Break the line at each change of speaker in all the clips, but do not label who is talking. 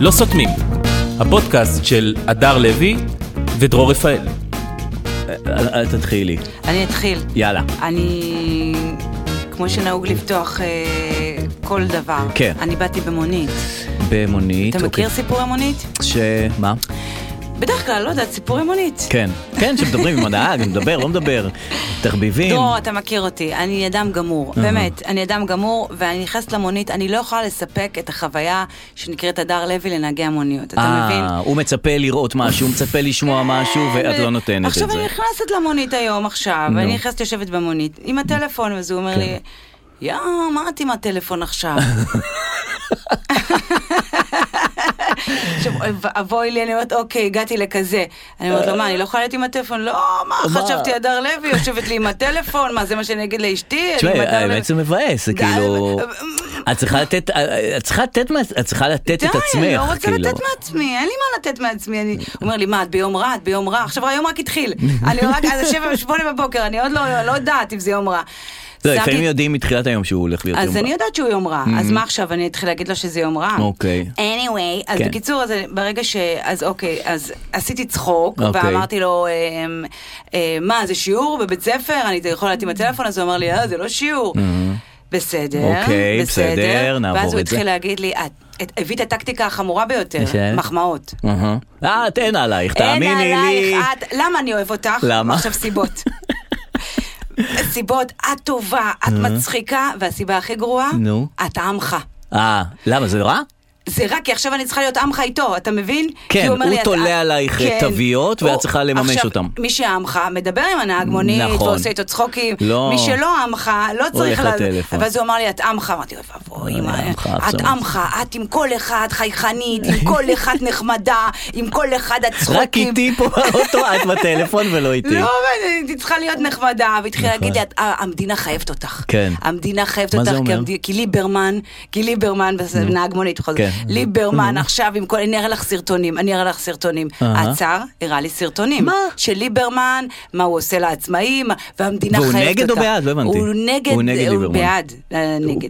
לא סותמים, הפודקאסט של הדר לוי ודרור רפאל.
אה, אה, תתחילי,
אני אתחיל.
יאללה.
אני, כמו שנהוג לפתוח אה, כל דבר,
כן.
אני באתי במונית.
במונית.
אתה מכיר
אוקיי.
סיפורי מונית?
ש... מה?
בדרך כלל, לא יודעת, סיפורי מונית.
כן. כן, שמדברים עם הנהג, מדבר, לא מדבר. תחביבים.
דרור, אתה מכיר אותי, אני אדם גמור, באמת, אני אדם גמור, ואני נכנסת למונית, אני לא יכולה לספק את החוויה שנקראת הדר לוי לנהגי המוניות, אתה מבין?
אה, הוא מצפה לראות משהו, הוא מצפה לשמוע משהו, ואת לא נותנת את זה.
עכשיו אני נכנסת למונית היום, עכשיו, אני נכנסת, יושבת במונית, עם הטלפון, וזה אומר
כן.
לי, יא, מה את עם הטלפון עכשיו? עכשיו, אוי ואבוי לי, אני אומרת, אוקיי, הגעתי לכזה. אני אומרת לו, מה, אני לא יכולה להיות עם הטלפון? לא, מה,
מה?
חשבתי הדר לוי, יושבת לי עם הטלפון, מה, זה מה שאני אגיד לאשתי? אני
תשמע,
עם הדר לוי."
האמת זה מבאס, זה
די,
כאילו...
אה,
את צריכה לתת, אה, את צריכה לתת, מה- את צריכה לתת את עצמך,
די, אני לא רוצה
כאילו.
לתת מעצמי, אין לי מה לתת מעצמי. אני הוא אומר לי, מה, את ביום רע? את ביום רע? עכשיו היום רק התחיל. אני רק, אז שבע ושמונה בבוקר, אני עוד לא לא יודעת אם זה יום רע.
לא,
שמתי-
לפעמים יודעים מתחילת היום שהוא הולך להיות יום
אז אני
רע. Mm-hmm.
יודעת שהוא יום רע, אז מה עכשיו, אני אתחיל להגיד לו שזה יום רע?
אוקיי.
anyway, אז
כן.
בקיצור, אז אני- ברגע ש... אז אוקיי, אז עשיתי צחוק,
אוקיי.
ואמרתי לו, אמ, אמ, מה, זה שיעור בבית ספר? אני יכולה להיות עם הטלפון? אז הוא אמר לי, אה, זה לא שיעור. בסדר,
Mm-hmm. אוקיי, בסדר, נעבור
ואז הוא
את זה. כן.
התחיל להגיד לי, "את- את הביא את הטקטיקה החמורה ביותר,
יש-
מחמאות.
אהה. אה, את אין עלייך,
אין
תאמיני לי.
עלייך, את... למה אני אוהב אותך?
למה?
עכשיו סיבות. סיבות, את טובה, את מצחיקה, והסיבה הכי גרועה,
אה. נו.
את עמך.
אה, למה זה רע?
זה רק כי עכשיו אני צריכה להיות עמך איתו, אתה מבין?
כן,
כי אומר
הוא
לי, "את- כן.
תולה עלייך תוויות, ואת
הוא-
צריכה לממש
עכשיו,
אותם.
מי שעמך מדבר עם הנהג מונית,
נכון.
ועושה איתו צחוקים.
לא.
מי שלא עמך, לא צריך...
הולך
לה-
לטלפון.
ואז הוא אמר לי, את עמך. אמרתי, אוי ואבוי,
אוי,
אמא,
עמך,
את
עכשיו."
עמך, את עם כל אחד חייכנית, עם כל אחד נחמדה, עם כל אחד הצחוקים.
רק איתי פה באוטו, את בטלפון ולא איתי.
לא, אבל הייתי צריכה להיות נחמדה, והתחילה להגיד לי, "את- אה, המדינה חייבת אותך.
נכון. כן.
המדינה חייבת
מה
אותך,
זה
כי
אומר?
המד- כי ליברמן, כי ליברמן, וזה נהג מונית בכל זאת,
כן.
ליברמן עכשיו עם כל, אני אראה לך סרטונים, אני אראה לך סרטונים.
אהה.
עצר, הראה לי סרטונים.
מה?
של ליברמן, מה הוא עושה לעצמאים, והמדינה
והוא
חייבת
נגד
אותך.
או בעד? לא הבנתי.
הוא נגד,
הוא נגד ליברמן.
הוא בעד, אה, נגד.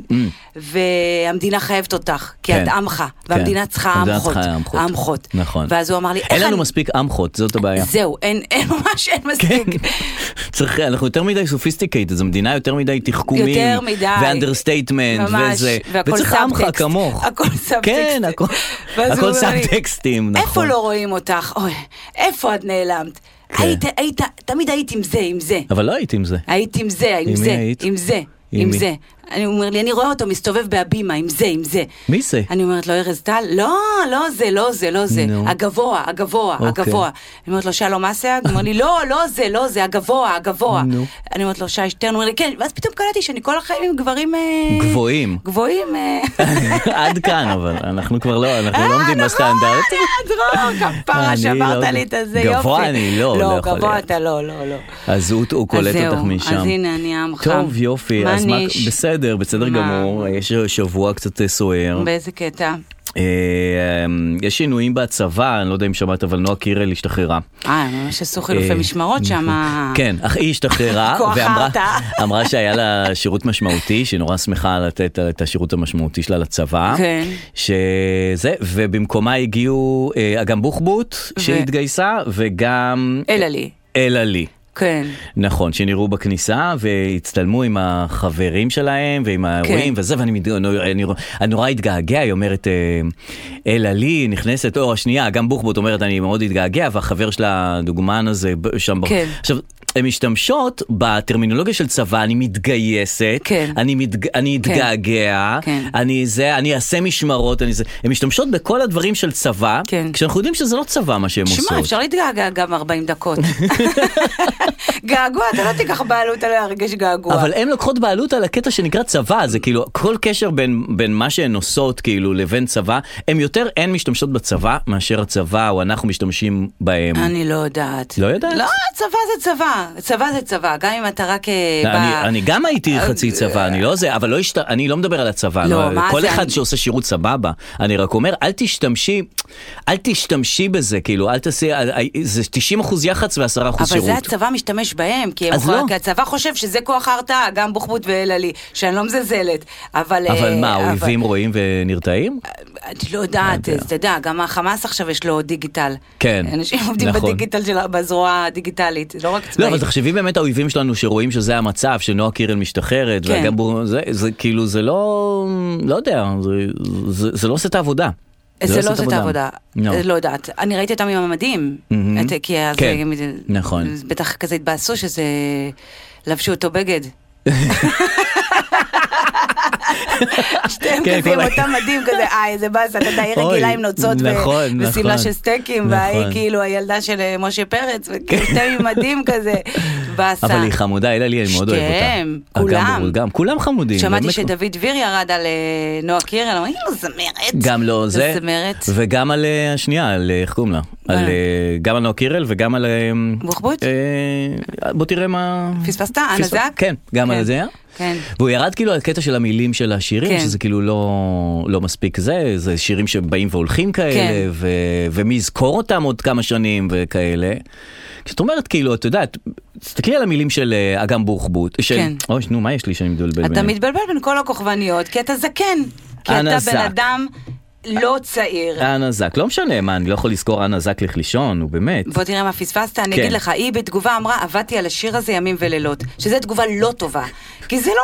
והמדינה חייבת אותך, כי
כן.
את עמך,
כן.
והמדינה צריכה
המדינה
עמכות.
צריכה עמכות.
עמכות.
נכון.
ואז הוא אמר לי,
אין
"איך
לנו
אני- אה,
מספיק עמכות, זאת הבעיה.
זהו, אין, אין ממש, אין
כן.
מספיק.
צריך, אנחנו יותר מדי סופיסטיקייטד, זו מדינה יותר מדי תחכומים.
יותר מדי.
ואנדרסטייטמנט,
ממש,
וזה.
והכל
וצריך עמך
סאבטקסט.
כמוך.
הכל סאבטקסט.
כן, הכל,
ואז הוא
הכל
אומר לי,
סאבטקסטים, נכון.
איפה לא רואים אותך? אוי, איפה את נעלמת?
כן.
היית, היית, תמיד היית עם זה, עם זה.
אבל לא היית עם זה.
היית עם זה, עם
מי
זה,
היית?
עם זה,
עם
עם
מי?
זה. אני הוא אומר לי, אני רואה אותו מסתובב בהבימה, עם זה, עם זה.
מי זה?
אני אומרת לו, ארז טל? לא, לא זה, לא זה, לא זה.
אה. נו.
הגבוה, הגבוה,
אוקיי.
הגבוה. אני אומרת לו, שלום אסיאג? הוא אומר לי, לא, לא זה, לא זה, הגבוה, הגבוה.
נו.
אני אומרת לו, שי שטרן? הוא אומר לי, כן. ואז פתאום קלטתי שאני כל החיים עם גברים... אה,
גבוהים.
גבוהים. אה.
עד כאן, אבל אנחנו כבר לא, אנחנו
אה,
לא עומדים
נכון,
בסטנדרט.
אה, דרור,
אני
כפרה, שברת
לא-
לי את הזה, יופי.
גבוה אני לא, לא
לא,
יכול
גבוה
להיות.
אתה לא, לא, לא.
אז הוא, הוא קולט
זהו,
אותך משם.
אז הנה, אני עמך.
טוב, יופי.
מה
אז
ניש?
בסדר, בסדר
מה?
גמור. יש שבוע קצת סוער.
באיזה קטע?
אה, אמ, יש שינויים בצבא, אני לא יודע אם שמעת, אבל נועה קירל השתחררה.
אה, הם ממש עשו חילופי משמרות שם.
כן, אך היא השתחררה,
אה. כוח
ואמרה
ההרתעה.
אמרה שהיה לה שירות משמעותי, שהיא נורא שמחה לתת את השירות המשמעותי שלה לצבא.
כן.
שזה, ובמקומה הגיעו אה, גם בוחבוט שהתגייסה, וגם
אלא לי.
אלה לי.
כן.
נכון, שנראו בכניסה והצטלמו עם החברים שלהם ועם
כן.
ההורים וזה, ואני מת- אני- אני- אני נורא התגעגע, היא אומרת, אה, אלה לי נכנסת, או השנייה, גם בוחבוט אומרת, אני מאוד התגעגע, והחבר שלה, הדוגמן הזה, ב- שם, ב-
כן.
עכשיו, הן משתמשות בטרמינולוגיה של צבא, אני מתגייסת,
כן.
אני, מתג... אני
כן.
אתגעגע,
כן.
אני זה, אני אעשה משמרות, אני זה, הן משתמשות בכל הדברים של צבא,
כן.
כשאנחנו יודעים שזה לא צבא מה שהן עושות.
שמע, אפשר להתגעגע גם 40 דקות. געגוע, אתה לא תיקח בעלות על הרגש געגוע.
אבל הן לוקחות בעלות על הקטע שנקרא צבא, זה כאילו כל קשר בין, בין מה שהן עושות כאילו לבין צבא, הן יותר הן משתמשות בצבא מאשר הצבא או אנחנו משתמשים בהם.
אני לא יודעת.
לא יודעת?
לא, צבא זה צבא. צבא זה צבא, גם אם אתה רק... אה,
לא, אני-
ב-
אני גם הייתי
אה,
חצי צבא, אני לא זה, אבל לא השת... אני לא מדבר על הצבא.
לא, מה
כל
זה,
אחד
אני-
שעושה שירות סבבה, אני רק אומר, אל תשתמשי, אל תשתמשי בזה, כאילו, אל תעשי, זה 90 אחוז יח"צ ו-10 אחוז
אבל
שירות.
זה הצבא משתמש בהם, כי, הם
אז
חו-
לא.
כי הצבא חושב שזה כוח ההרתעה, גם בוחבוט ואלעלי, שאני לא מזלזלת. אבל... אה,
אבל מה, האויבים רואים ונרתעים?
אני לא יודעת, אז אתה יודע, גם החמאס עכשיו יש לו דיגיטל.
כן,
אנשים עובדים
נכון.
בדיגיטל של בזרוע הדיגיטלית, לא רק
לא,
צבאית.
אבל תחשבי באמת האויבים שלנו שרואים שזה המצב, שנועה קירל משתחררת,
כן.
והגבור, זה, זה כאילו, זה לא, לא יודע, זה, זה, זה לא עושה את העבודה.
זה לא עושה את העבודה,
לא.
לא יודעת. אני ראיתי אותם עם המדים,
מהמם.
את- כי אז
כן,
הם-
נכון.
אז בטח כזה התבאסו שזה... לבשו אותו בגד. שתיהם
כן,
כזה עם
כל ה-
אותם מדים כזה, אה, איזה באסה, אתה יודע, היא
אוי,
רגילה עם נוצות ו-
נכון,
ושמלה
נכון,
של סטייקים, וההיא
נכון.
כאילו הילדה של אה, משה פרץ, וכאילו שתיהם עם מדים כזה, באסה.
אבל היא חמודה, אלה לי, אני מאוד אוהב אותה.
שתיהם,
אה, גם
כולם.
ברור, גם, כולם חמודים.
שמעתי
באמת.
שדוד דביר ירד על אה, נועה קירל, אמרתי, היא לא זמרת.
גם לא זה,
זמרת.
וגם על אה, השנייה, על אה, איך קוראים לה?
מה?
על, אה, גם על נועה קירל וגם על... אה,
בוחבוט?
אה, בוא תראה מה...
פספסת? אנה
פספס-
זק?
כן, גם
כן.
על זה.
כן.
והוא ירד כאילו על קטע של המילים של השירים,
כן.
שזה כאילו לא, לא מספיק זה, זה שירים שבאים והולכים
כן.
כאלה, ו, ומי יזכור אותם עוד כמה שנים וכאלה. כשאת אומרת כאילו, את יודעת, תסתכלי על המילים של אה, אגם בוחבוט, של,
כן.
אוי, נו, מה יש לי שאני מדולבל
אתה
ביניהם?
מתבלבל בין כל הכוכבניות, כי אתה זקן. כי
אנא
אתה
זק.
בן אדם לא צעיר.
אנה זק, לא משנה מה, אני לא יכול לזכור אנה זק לכלישון, הוא באמת.
בוא תראה מה פספסת, אני
כן.
אגיד לך, היא בתגובה אמרה, עבדתי על השיר הזה ימים ולילות, שזו תגובה לא טובה. כי זה לא,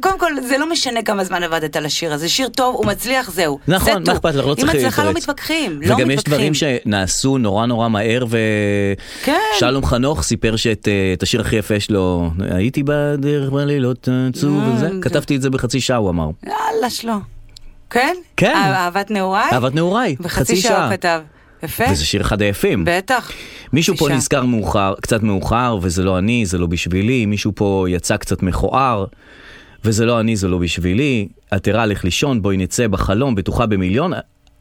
קודם כל, זה לא משנה כמה זמן עבדת על השיר הזה, שיר טוב, הוא מצליח, זהו. זה
נכון, מה
טו.
אכפת לך, לא צריך
עם הצלחה לא
להתרץ.
מתווכחים, לא
וגם יש
מתווכחים.
דברים שנעשו נורא נורא מהר, ו...
כן.
שלום חנוך סיפר שאת אה, את השיר הכי יפה שלו, הייתי בדרך בלילות עצוב
אה,
וזה,
זה-
כתבתי את זה בחצי שעה, הוא אמר.
יאללה, שלא. כן?
כן.
אה- אהבת נעוריי?
אהבת נעוריי,
בחצי
חצי
שעה הוא
שעה.
כתב. יפה?
וזה שיר אחד היפים.
בטח.
מישהו פה
חצי שעה.
נזכר מאוחר, קצת מאוחר, וזה לא אני, זה לא בשבילי, מישהו פה יצא קצת מכוער, וזה לא אני, זה לא בשבילי, את ערה לך לישון, בואי נצא בחלום, בטוחה במיליון,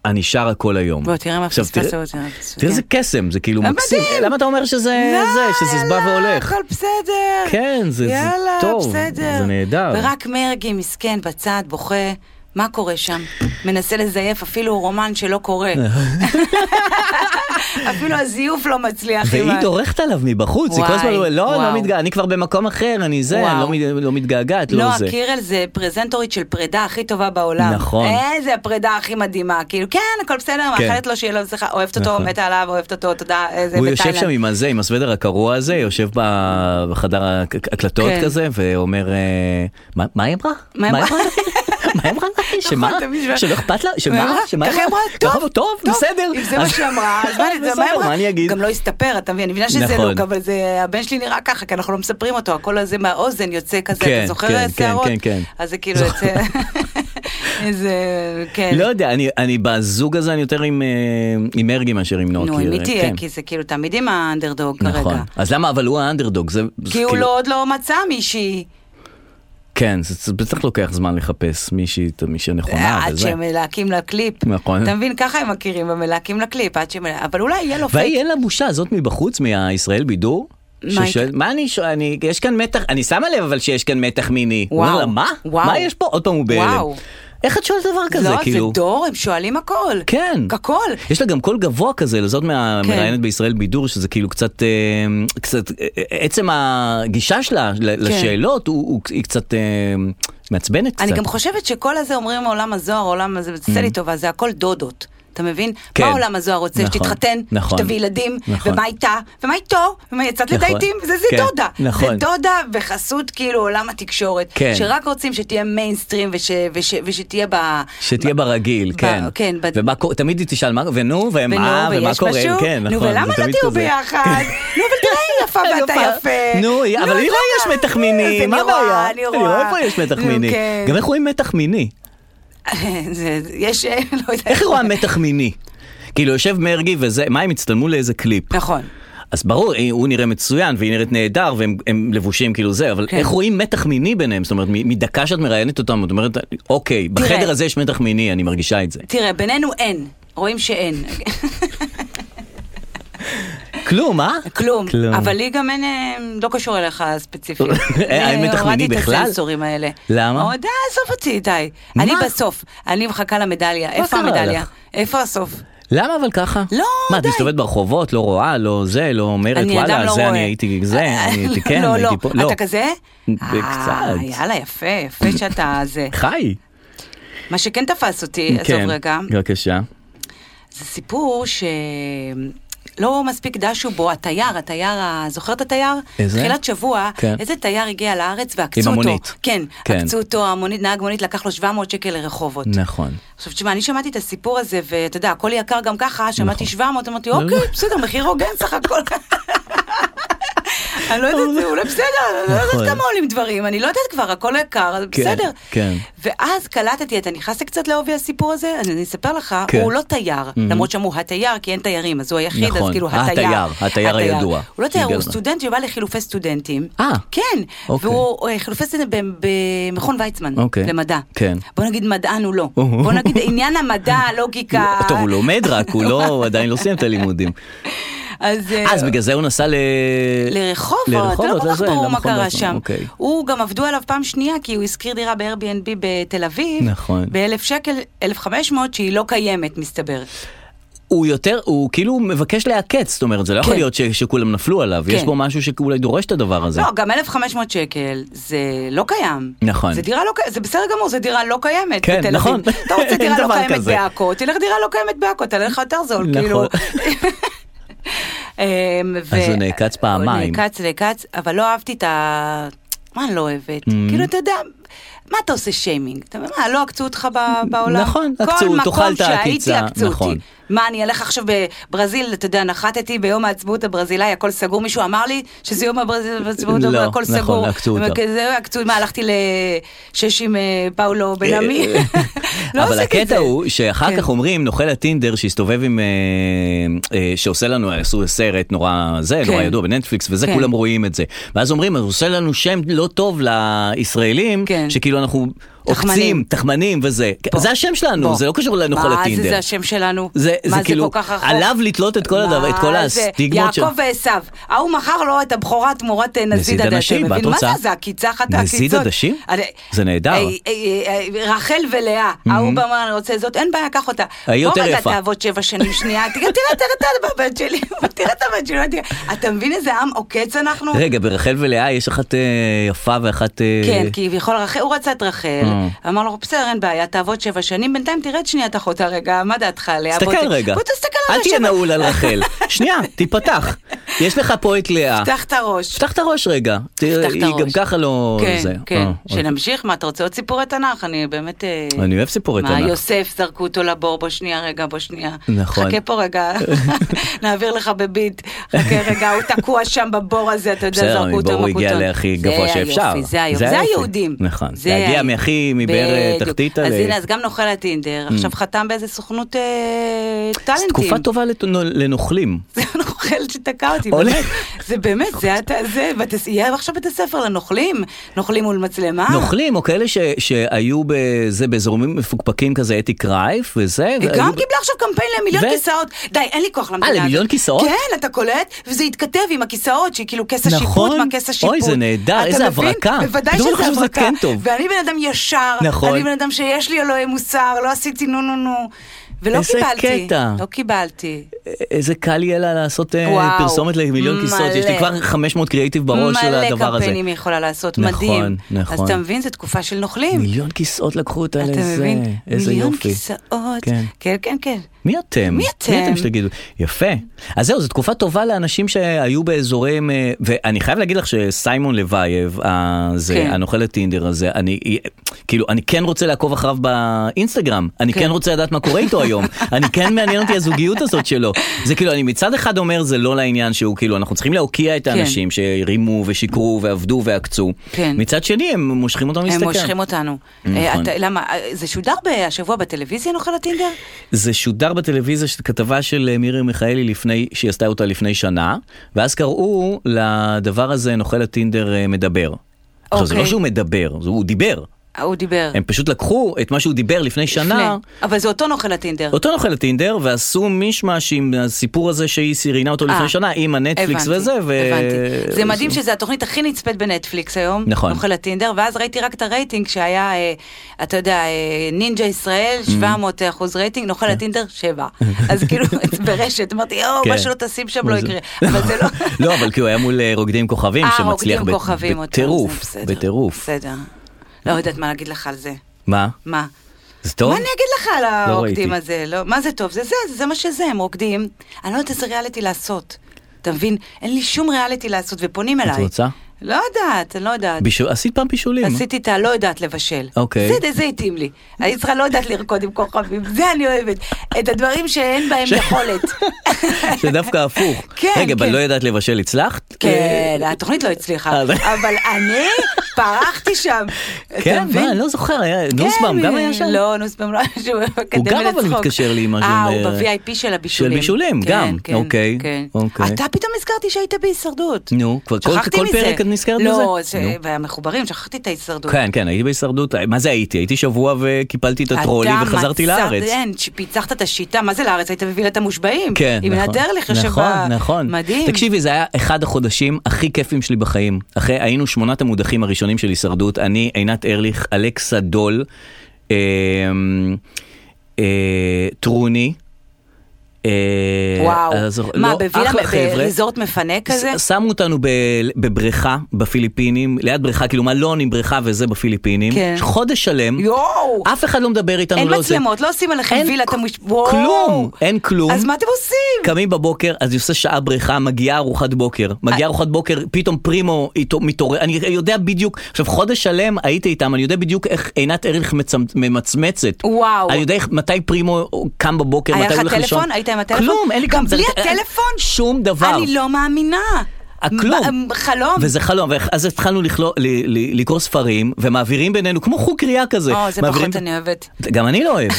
אני שרה כל היום.
בוא, תראה מה
עכשיו,
פספסת.
תראה-
אותי.
תראה איזה קסם, זה כאילו
כן. אה,
מקסים.
מדהים. לא
למה אתה אומר שזה זה, שזה בא והולך?
הכל בסדר.
כן, זה- זה
יאללה,
טוב,
בסדר.
זה נהדר.
ורק מרגי מסכן בצד בוכה. מה קורה שם? מנסה לזייף אפילו רומן שלא קורה. אפילו הזיוף לא מצליח. עם
והיא
ה-
דורכת עליו מבחוץ, היא כל
וואי,
הזמן אומרת, לא,
וואו.
לא מתגעגעת, אני כבר במקום אחר, אני זה, אני
וואו.
לא מת- לא מתגעגעת, לא
נועה
זה.
קירל זה פרזנטורית של פרידה הכי טובה בעולם.
נכון.
איזה הפרידה הכי מדהימה. כאילו, כן, הכל בסדר,
כן.
מאחלת לו שיהיה לו הצלחה, אוהבת אותו,
נכון.
מתה עליו, אוהבת אותו, תודה, איזה
הוא יושב שם
בתאילנד.
עם הזה, עם הסוודר הקרוע הזה, יושב ב- בחדר ההק- הקלטות
כן.
כזה, ואומר, אה, מה מה היא אמרה?
מה היא אמרה? נכון,
מה היא אמרה? שמה?
תמיד-
שלא אכפת לה? שמה? שמה?
ככה היא אמרה,
לא
נכון, טוב,
אכפת- טוב, בסדר.
אם זה מה
אז-
שהיא אמרה, אז מה זה-
בסדר,
מה היא אמרה?
מה אני אגיד?
גם לא הסתפר, אתה מבין? אני מבינה שזה
נכון.
לוק, אבל זה- הבן שלי נראה ככה, כי אנחנו לא מספרים אותו, הכל הזה מהאוזן יוצא כזה,
כן,
אתה זוכר
כן,
את
כן,
השערות?
כן, כן.
אז זה כאילו
זוכר.
יוצא... איזה... כן.
לא יודע, אני- אני בזוג הזה אני יותר עם, אה, עם מרגי מאשר עם נועה
נו, עם
קירל.
מי תהיה?
כן.
כי זה כאילו תמיד עם האנדרדוג
נכון.
כרגע.
אז למה, אבל הוא האנדרדוג, זה... זה
כי הוא
כאילו-
לא- עוד לא מצא מישהי.
כן, זה זה בטח לוקח זמן לחפש מישהי, את מי שנכונה
עד
אה, וזה.
שהם מלהקים לקליפ.
נכון.
אתה מבין? ככה הם מכירים, הם מלהקים לקליפ, עד שהם... אבל אולי יהיה לו
והיא
פייק.
אין לה בושה, זאת מבחוץ, מהישראל בידור?
מה
ששואל, מה אני שואל, אני, יש כאן מתח, אני שמה לב אבל שיש כאן מתח מיני. הוא אומר
וואו,
לה, מה?
וואו.
מה יש פה? עוד פעם הוא בהלם.
וואו.
איך את שואלת דבר כזה,
לא,
כאילו?
זה דור, הם שואלים הכל.
כן.
הכל.
יש לה גם קול גבוה כזה, לזאת
כן.
מהמראיינת בישראל בידור, שזה כאילו קצת, אה, קצת, אה, עצם הגישה שלה
כן.
ל- לשאלות, הוא- הוא- היא קצת אה, מעצבנת קצת. Mm.
אני גם חושבת שכל הזה אומרים עולם הזוהר, עולם הזה, תעשה לי טובה, זה הכל דודות. אתה מבין?
כן.
מה עולם הזוהר רוצה?
נכון,
שתתחתן,
נכון.
שתביא ילדים,
נכון.
ומה איתה, ומה איתו, ומה יצאת
נכון,
לדייטים, זה זה
כן,
דודה.
נכון.
זה דודה בחסות כאילו עולם התקשורת,
כן.
שרק רוצים שתהיה מיינסטרים וש- וש- ושתהיה ב...
שתהיה
ב-
ברגיל,
ב-
כן.
כן, ב-
ומה קורה, תמיד היא תשאל, מה, ונו,
ונו,
ומה, ומה
ויש
קורה,
משהו?
כן, נכון.
נו,
זה
ולמה לא
תמיד
תהיו
כזה.
ביחד? נו, אבל תראה, היא יפה
יפה.
ואתה יפה. לא
נו, היא- אבל
אז
היא רואה
למה?
יש מתח
אז
מיני,
אני
מה
רואה,
הבעיה?
אני
אני רואה
רואה
פה יש מתח
נו,
מיני.
כן.
גם איך רואים מתח מיני?
זה- יש, אה, לא יודעת.
איך היא רואה מתח מיני? כאילו יושב מרגי וזה, מה הם הצטלמו לאיזה קליפ?
נכון.
אז ברור, אה, הוא נראה מצוין והיא נראית נהדר והם הם לבושים כאילו זה, אבל
כן.
איך רואים מתח מיני ביניהם? זאת אומרת, מ- מדקה שאת מראיינת אותם, את אומרת, אוקיי,
תראה.
בחדר הזה יש מתח מיני, אני מרגישה את זה.
תראה, בינינו אין, רואים שאין.
כלום, אה?
כלום.
כלום.
אבל לי גם אין, אה, לא קשור אליך ספציפית.
אה, אין מתח מיני
אני הורדתי
בכלל?
את הסנסורים האלה.
למה?
עוד, אה, עזוב אותי, די. אני בסוף, אני מחכה למדליה. איפה
קרה
המדליה?
לך?
איפה הסוף?
למה אבל ככה?
לא,
מה, את
די.
מסתובבת ברחובות, לא רואה, לא זה, לא אומרת,
אני אדם
וואלה,
לא
זה
רואה.
אני הייתי זה, אני הייתי כן,
לא,
הייתי
לא.
פה.
אתה כזה? אה,
קצת.
יאללה, יפה, יפה שאתה זה.
חי.
מה שכן תפס אותי, אה, עזוב
כן,
רגע,
בבקשה.
זה סיפור ש... לא מספיק דשו בו, התייר, התייר, ה- זוכר את התייר?
איזה?
תחילת שבוע,
כן.
איזה תייר הגיע לארץ ועקצו
עם
אותו.
המונית.
כן,
כן.
עקצו אותו, המונית, נהג מונית לקח לו 700 שקל לרחובות.
נכון.
עכשיו תשמע, אני שמעתי את הסיפור הזה, ואתה יודע, הכל יקר גם ככה, שמעתי 700, אמרתי,
לא,
אוקיי,
לא.
בסדר, מחיר הוגן סך הכל. אני לא יודעת, אולי בסדר, אני לא
נכון.
יודעת כמה עולים דברים, אני לא יודעת כבר, הכל יקר, אז
כן,
בסדר.
כן.
ואז קלטתי, אתה נכנסת קצת לעובי הסיפור הזה? אז אני אספר לך,
כן.
הוא לא תייר, למרות שאמרו התייר, כי אין תיירים, אז הוא היחיד, אז
נכון,
כאילו
התייר,
התייר.
התייר הידוע.
הוא לא תייר, הוא
הגענו.
סטודנט שבא לחילופי סטודנטים.
אה.
כן,
אוקיי.
והוא אה, חילופי סטודנט ב- במכון ויצמן,
אוקיי.
למדע.
כן.
בוא נגיד מדען הוא לא. בוא נגיד עניין המדע, הלוגיקה.
טוב, הוא לומד רק, הוא לא, הוא עדיין לא סיים את הלימודים.
אז... אה,
אז בגלל זה הוא נסע ל...
לרחובות, לא
לרחובות,
כל כך
לזה,
ברור מה
למכון
קרה
בעצמו,
שם.
אוקיי.
הוא גם עבדו עליו פעם שנייה, כי הוא השכיר דירה ב-Airbnb בתל אביב.
נכון.
ב-1,000 שקל, 1,500, שהיא לא קיימת, מסתבר.
הוא יותר, הוא כאילו מבקש להעקץ, זאת אומרת, זה לא יכול
כן.
להיות ש- שכולם נפלו עליו, יש
כן.
פה משהו שאולי דורש את הדבר הזה.
לא, גם 1,500 שקל, זה לא קיים.
נכון.
זה דירה לא קיימת, זה בסדר גמור, זה דירה לא קיימת
כן,
בתל אביב.
נכון.
אתה רוצה
אין
דירה לא
דבר
קיימת
כזה.
בעכו, תלך דירה לא קיימת בעכו, תעלה לך יותר זול,
נכון.
כאילו. אמ, ו-
אז הוא נעקץ פעמיים.
הוא נעקץ, נעקץ, אבל לא אהבתי את ה... מה אני לא אוהבת?
Mm.
כאילו, אתה יודע... מה אתה עושה שיימינג? אתה אומר, מה, לא עקצו אותך ב- בעולם?
נכון, עקצו, תאכל את
כל מקום שהייתי
העקיצה,
עקצו
נכון.
אותי. מה, אני אלך עכשיו בברזיל, אתה יודע, נחתתי ביום העצמאות הברזילאי, הכל סגור, מישהו אמר לי שזה יום הברזיל, העצמאות,
לא,
הכל
נכון,
סגור.
עקצו אותם.
וכזה, לא, עקצו, מה, הלכתי לשש עם אה, פאולו בן עמי? לא
אה, אבל
עושה
הקטע
כזה.
הוא שאחר
כן.
כך אומרים נוכל הטינדר שהסתובב עם אה, אה, שעושה לנו עשו סרט נורא זה
כן.
נורא ידוע בנטפליקס וזה
כן.
כולם רואים את זה ואז אומרים אז הוא עושה לנו שם לא טוב לישראלים
כן.
שכאילו אנחנו
תחמנים.
עוקצים תחמנים וזה
בוא.
זה השם שלנו
בוא.
זה לא קשור לנוכל
מה זה,
הטינדר.
זה השם שלנו?
זה,
מה
זה כאילו,
כל כך רחוק?
עליו לתלות את כל
מה
הדבר, את כל
זה?
הסטיגמות
יעקב ועשו, ההוא מכר לו את הבכורה תמורת אה, נזיד עדשים,
מה את
מבין?
רוצה?
מה זה, זה עקיצה אחת העקיצות.
נזיד עדשים?
אני-
זה נהדר.
אה, אה, אה, אה, רחל ולאה, ההוא בא, אמר, אני רוצה זאת, אין בעיה, קח אותה.
היא יותר
בוא רגע
יפה.
תעבוד שבע שנים שנייה, תראה, תראה, תראה את הבת שלי, תראה את הבת שלי, תראה. אתה מבין איזה עם עוקץ אנחנו?
רגע, ברחל ולאה יש אחת אה, יפה ואחת... אה,
כן, כביכול רחל, הוא רצה את רחל,
אה.
אמר לו, בסדר, אין בעיה, תעבוד שבע שנים, בינתיים תראה את שניית אחותה רגע, מה דעתך עליה? בוא
תסתכל
ת-
רגע.
בוא תסתכל
אל
עליה
תהיה
שבע-
נעול על רחל. שנייה, תיפתח. יש לך פה את לאה.
פתח את הראש.
פתח את הראש רגע. תראה,
את
היא גם
הראש.
ככה לא...
כן,
זה.
כן.
אה,
שנמשיך, מה, אתה רוצה עוד סיפורי תנ"ך? אני באמת... אה,
אוקיי. אני אוהב סיפורי
מה,
תנ"ך.
יוסף, זרקו אותו לבור, בוא שנייה רגע, בוא שנייה.
נכון.
חכה פה רגע, נעביר לך בביט. חכה רגע, הוא תקוע שם בבור הזה, אתה יודע,
בסדר,
זרקו אותו
מבור הוא הגיע
מהכותון.
להכי
זה
גבוה
היופי,
שאפשר.
זה היופי,
זה
זה
היופי.
היהודים.
נכון.
זה
להגיע
ה-
מהכי- מבאר, אה,
בדיוק.
תחתית
אז
ל-
הנה, אז גם נוכל הטינדר, עכשיו חתם באיזה סוכנות אה,
זו
טאלנטים.
תקופה טובה לת- לנוכלים.
זה הנוכל שתקע אותי,
עולה.
באמת. זה באמת, זה אתה, זה, בת- יהיה עכשיו בית הספר לנוכלים, נוכלים מול מצלמה.
נוכלים או כאלה ש- שהיו בזה באזורים מפוקפקים כזה אתי קרייף וזה.
היא
והיו-
אה, גם קיבלה עכשיו קמפיין למיליון
ו-
כיסאות. די, אין לי כוח למדינה.
אה, למיליון
הזאת.
כיסאות?
כן, אתה קולט, וזה התכתב עם הכיסאות, שהיא כאילו כס השיפוט
נכון.
מהכס השיפוט.
אוי, זה נהדר,
אתה
איזה
מבין?
הברקה.
בוודאי
פתאום אני
שזה
חושב שזה
הברקה.
כן טוב.
ואני בן אדם ישר.
נכון.
אני בן אדם שיש לי אלוהי מוסר, לא עשיתי נו נו נו. ולא
איזה
קיבלתי.
קטע.
לא קיבלתי.
אה, איזה קל יהיה לה לעשות אה,
וואו,
פרסומת למיליון
מלא.
כיסאות, יש לי כבר 500 קריאיטיב בראש של הדבר
מלא
הזה.
קמפיינים היא יכולה לעשות,
נכון,
מדהים. אז
נכון.
אתה מבין, זו תקופה של נוכלים.
מיליון כיסאות לקחו אותה
אתה
לזה,
מבין?
איזה
מיליון
יופי.
כיסאות.
כן.
כן, כן, כן.
מי אתם?
מי אתם?
מי אתם שתגידו? יפה. אז זהו, זו תקופה טובה לאנשים שהיו באזורים, אה, ואני חייב להגיד לך שסיימון לוייב, אה, זה,
כן.
הנוכל הטינדר הזה, אני, כאילו, אני כן רוצה לעקוב אחריו באינסטגרם, אני כן
כן.
רוצה לדעת מה קורה איתו היום, אני כן מעניין אותי הזוגיות הזאת שלו. זה כאילו, אני מצד אחד אומר, זה לא לעניין שהוא, כאילו, אנחנו צריכים להוקיע את האנשים שהרימו ושיקרו ועבדו ועקצו.
כן.
מצד שני, הם מושכים אותם
הם
להסתכל.
מושכים אותנו.
נכון.
אה, אתה- למה? אה, זה שודר השבוע בטלוויזיה נוכל הטינדר?
זה שודר בטלוויזיה, של כתבה של אה, מירי מיכאלי לפני, שהיא עשתה אותה לפני שנה, ואז קראו לדבר הזה נוכל הטינדר אה, מדבר. עכשיו זה לא
אוקיי.
שהוא מדבר, זה- הוא דיבר.
אה, הוא דיבר.
הם פשוט לקחו את מה שהוא דיבר לפני שנה,
לפני. אבל זה אותו נוכל הטינדר.
אותו נוכל לטינדר, ועשו מישמש עם הסיפור הזה שהיא סירינה אותו
אה,
לפני שנה, עם הנטפליקס
הבנתי,
וזה, ו...
הבנתי. זה מדהים
עשו-
שזו התוכנית הכי נצפית בנטפליקס היום.
נכון.
נוכל הטינדר, ואז ראיתי רק את הרייטינג שהיה, אה, אתה יודע, אה, נינג'ה ישראל,
Mm.
700 אחוז רייטינג, נוכל הטינדר, 7. אז כאילו, ברשת, אמרתי, יואו, מה
כן. כן.
שלא תשים שם
מה
לא
זה?
יקרה. אבל זה לא...
לא, אבל כי הוא היה מול אה, רוקדים כוכבים,
אה,
שמצליח
רוקדים
ב-
כוכבים אותו, זה
בטירוף,
בסדר,
בטירוף.
בסדר. לא יודעת מה להגיד לך על זה.
מה?
מה?
זה טוב?
מה אני אגיד לך על הרוקדים
לא? ראיתי.
הזה? לא, מה זה טוב? זה זה, זה מה שזה, הם רוקדים. אני לא יודעת איזה ריאליטי לעשות. אתה מבין? אין לי שום ריאליטי לעשות, ופונים אליי.
את רוצה?
לא יודעת, אני לא יודעת.
בישול- עשית פעם בישולים.
עשיתי את הלא יודעת לבשל.
אוקיי.
זה, זה התאים לי. הישראל לא יודעת לרקוד עם כוכבים, זה אני אוהבת. את הדברים שאין בהם יכולת.
זה דווקא הפוך.
כן,
רגע, אבל
כן.
לא ידעת לבשל, הצלחת?
כן, התוכנית לא הצליחה,
אה, זה-
אבל אני פרחתי שם. אתה
כן,
מבין?
מה, אני לא זוכר, היה-
כן,
נוסבאום גם היה שם?
לא, נוסבאום לא היה שם, הוא אקדמיה
הוא
לצחוק.
גם אבל מתקשר לי עם משהו.
אה,
אה,
הוא ב-VIP של הבישולים.
של בישולים,
כן,
גם.
כן,
אוקיי,
כן.
אוקיי.
אתה פתאום נזכרתי שהיית בהישרדות.
נו, כבר כל-
שכחתי
כל
מזה.
פרק את נזכרת בזה?
לא, זה-
נו.
והמחוברים, שכחתי את ההישרדות.
כן, כן, הייתי בהישרדות. מה זה הייתי? הייתי שבוע וקיפלתי את הטרולי
אתה
וחזרתי
מצא-
לארץ.
כן, שפיצחת את השיטה, מה זה לארץ? היית מביא לה את המושבעים.
כן,
עם
נכון.
נדרליך יושב
נכון,
ב-
נכון.
מדהים.
תקשיבי, זה היה אחד החודשים הכי כיפים שלי בחיים. אחרי, היינו שמונת המודחים הראשונים של הישרדות, אני, עינת ארליך, אלכסה דול, אה, אה, טרוני. אה,
וואו.
אני לא זוכר-
מה,
לא,
בווילה
אחלה
ב-
חבר'ה.
בריזורט מפנה כזה?
ש- שמו אותנו ב- בבריכה בפיליפינים, ליד בריכה, כאילו מלון עם בריכה וזה בפיליפינים.
כן.
חודש שלם.
יואו!
אף אחד לא מדבר איתנו,
אין
לא זה.
מצלמות, לא עושים עליכם
אין
וילה, אתה
כ-
מוש... וואו.
כלום, אין כלום.
אז מה אתם עושים?
קמים בבוקר, אז אני עושה שעה בריכה, מגיעה ארוחת בוקר.
אה.
מגיעה ארוחת בוקר, פתאום פרימו איתו- מתעורר, אני יודע בדיוק, עכשיו חודש שלם הייתי איתם, אני יודע בדיוק איך עינת ארליך מצמ- ממצמצת.
וואו.
אני יודע איך, מתי פרימו קם בבוקר,
היה
מתי הוא
לך
הולך
טלפון?
לישון.
היית עם הטלפון?
כלום, אין לי
גם
כלום. זה-
בלי
אה,
הטלפון?
שום דבר.
אני לא מאמינה.
הכלום.
ב- חלום.
אה, וזה חלום, ואז התחלנו לכלוא- ל- ל- לקרוא ספרים, ומעבירים בינינו, כמו חוג קריאה כזה.
או, זה
מעבירים-
פחות אני אוהבת.
גם אני לא אוהב.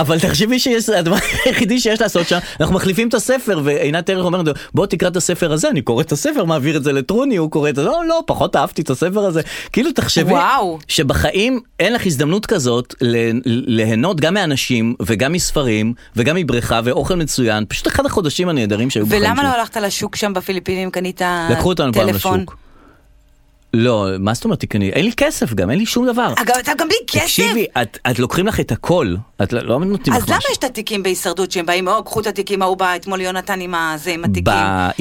אבל תחשבי שיש, הדבר היחידי שיש לעשות שם, אנחנו מחליפים את הספר, ועינת ערך אומרת, לו, בוא תקרא את הספר הזה, אני קורא את הספר, מעביר את זה לטרוני, הוא קורא את זה, לא, לא, פחות אהבתי את הספר הזה. כאילו, תחשבי,
וואו.
שבחיים אין לך הזדמנות כזאת ל- ליהנות גם מאנשים, וגם מספרים, וגם מבריכה, ואוכל מצוין, פשוט אחד החודשים הנהדרים שהיו בחיים
ולמה
שלי.
לא הלכת לשוק שם בפיליפינים, קנית טלפון?
לקחו אותנו פעם לשוק. לא, מה זאת אומרת, תקני? אין לי כסף גם, אין לי שום דבר.
אגב, אתה גם בלי כסף?
תקשיבי, את, את לוקחים לך את הכל, את לא- לא נותנים לך
אז
משהו.
למה יש את התיקים בהישרדות שהם באים, או, קחו את התיקים, ההוא בא אתמול יונתן עם הזה, עם התיקים.
באי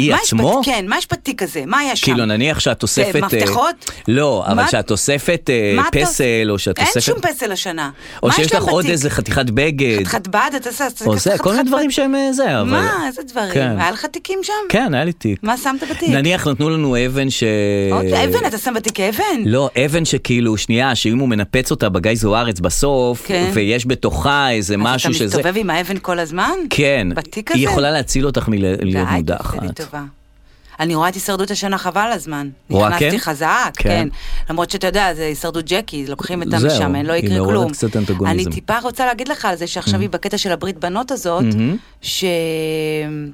מה יש
עצמו?
בת- כן, מה יש בתיק הזה? מה היה שם?
כאילו נניח שאת אוספת... אה,
מפתחות?
לא,
מה-
אבל שאת אוספת אה,
מה אתה-
פסל, או שאת אוספת...
אין שום פסל השנה.
או
מה
שיש
יש
לך
להם
עוד
בתיק?
איזה חתיכת בגד.
חתיכת בד, אתה עושה...
או זה, כל מיני דברים שהם אה, זה, אבל...
מה, איזה דברים?
כן.
היה לך תיקים שם?
כן, היה לי תיק.
מה שמת בתיק?
נניח אה, נתנו לנו אבן ש...
עוד לא, אבן, אתה שם בתיק אבן?
לא, אבן שכאילו, שנייה, שאם הוא מנפץ אותה בגיא זוארץ בסוף,
כן.
ויש בתוכה איזה משהו
אז אתה
שזה...
מסתובב עם האבן כל הזמן?
כן.
בתיק
היא
הזה?
יכולה להציל אותך מלהיות
די,
מודחת.
תעשה לי טובה. אני רואה את הישרדות השנה חבל הזמן.
רואה,
נכנסתי
כן?
חזק,
כן.
כן. למרות שאתה יודע, זה הישרדות ג'קי, לוקחים אותה
זהו,
משם, אין, לא
היא
יקרה
מעוררת
כלום.
קצת אנטגוניזם. Mm-hmm.
אני טיפה רוצה להגיד לך על זה שעכשיו היא בקטע של הברית בנות הזאת, ש...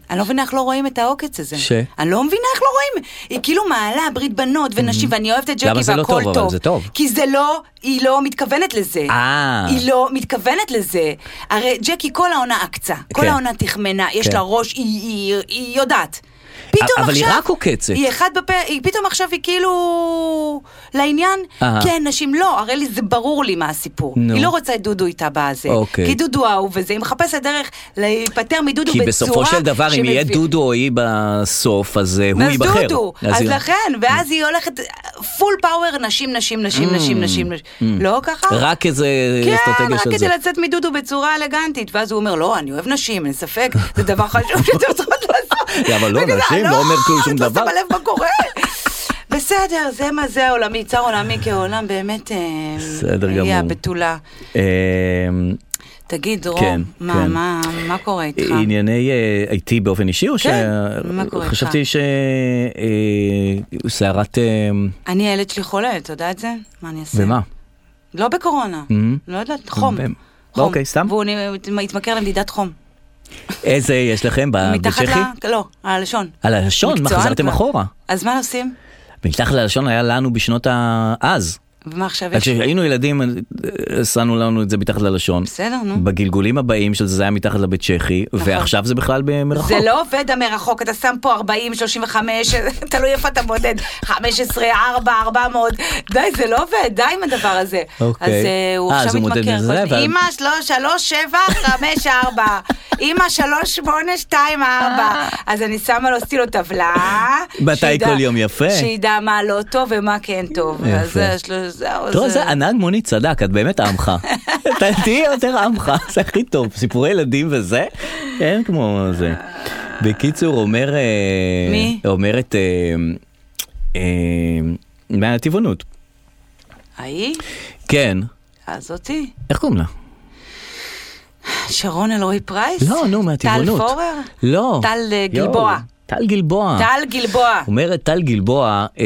אני לא מבינה איך לא רואים את העוקץ הזה.
ש?
אני לא מבינה איך לא רואים. היא כאילו מעלה ברית בנות ונשים, ואני אוהבת את ג'קי
Mm-hmm. למה
והכל
זה
טוב.
לא טוב, אבל זה טוב.
כי זה לא, היא לא מתכוונת לזה.
אה.
היא לא מתכוונת לזה. הרי ג'קי כל העונה עקצה, כל
כן.
העונה תחמנה, יש
כן.
לה ראש, היא, היא, היא יודעת. פתאום עכשיו...
אבל היא רק עוקצת.
היא אחד בפה, היא פתאום עכשיו היא כאילו... לעניין?
אהה.
כן, נשים לא, הרי לי זה ברור לי מה הסיפור.
נו.
היא לא רוצה את דודו איתה בזה.
אוקיי.
כי דודו האהוב וזה, היא מחפשת דרך להיפטר מדודו
כי
בצורה
בסופו של דבר, אם יהיה
שמביא-
דודו או היא בסוף, אז אה, הוא
אז
ייבחר.
דודו, אז
היא-
לכן, ואז היא הולכת פול פאוור, נשים, נשים, נשים, נשים, נשים, לא ככה?
Mm. רק איזה
כן,
אסטרטגיה
רק
של זה.
כדי לצאת מדודו בצורה אלגנטית, ואז הוא אומר, לא, אני אוהב נשים, אין ספק, זה דבר חשוב שאתם צריכות לעשות.
כן, אבל לא,
וכזה,
נשים, לא אומר כלום, שום
את לא
דבר."
שמה לב מה קורה. בסדר, זה מה זה העולמי, צר עולמי כעולם, באמת, אה,
בסדר
היא
גמור.
הבתולה.
אמ,
תגיד,
כן,
דרום, מה-
כן.
מה מה קורה איתך? כן,
ענייני אה, איתי באופן אישי או ש...
מה קורה איתך?
חשבתי אה, שסערת...
אני, הילד שלי חולה, אתה יודע את זה? מה אני אעשה?
במה?
לא בקורונה, לא יודעת, חום.
במ-
חום.
אוקיי, סתם?
והוא נ- התמכר למדידת חום.
איזה יש לכם ב-
מתחת
בצ'כי?
ל... לא, על הלשון.
על הלשון, מה
מקצוען
חזרתם
כבר.
אחורה?
אז מה עושים?
מתחת ללשון היה לנו בשנות ה... אז.
ומה עכשיו יש?
כשהיינו ילדים, אה, שנו לנו את זה מתחת ללשון.
בסדר, נו.
בגלגולים הבאים של זה, זה היה מתחת לבית צ'כי, ועכשיו זה בכלל במרחוק.
נכון. זה לא עובד המרחוק, אתה שם פה 40, 35, תלוי איפה אתה מודד, 15, 4, 400, די, זה לא עובד, די עם הדבר הזה.
אוקיי.
אז אה, הוא
אה, אז
עכשיו
הוא מודד
מתמכר,
לזה,
כל-
אבל-
אמא 3, 7, 5, 4, אמא 3, 8, 2, 4, אז אני שמה לו סטילו טבלה.
מתי
שידע-
כל יום יפה.
שידע מה לא טוב ומה כן טוב.
יפה.
אז אה, זה- שלו- זהו,
תראה,
זה-
זה הנהג מונית צדק, את באמת עמך. אתה תהיי יותר עמך, זה הכי טוב. סיפורי ילדים וזה, אין כמו זה. בקיצור, אומר... אה,
מי?
אומרת... אה, אה, מהטבעונות.
ההיא?
כן.
הזאתי?
איך קוראים לה?
שרון אלרועי פרייס?
לא, נו, מהטבעונות.
טל פורר?
לא.
טל אה,
יואו,
גלבוע.
טל גלבוע.
טל גלבוע.
אומרת טל גלבוע, אה,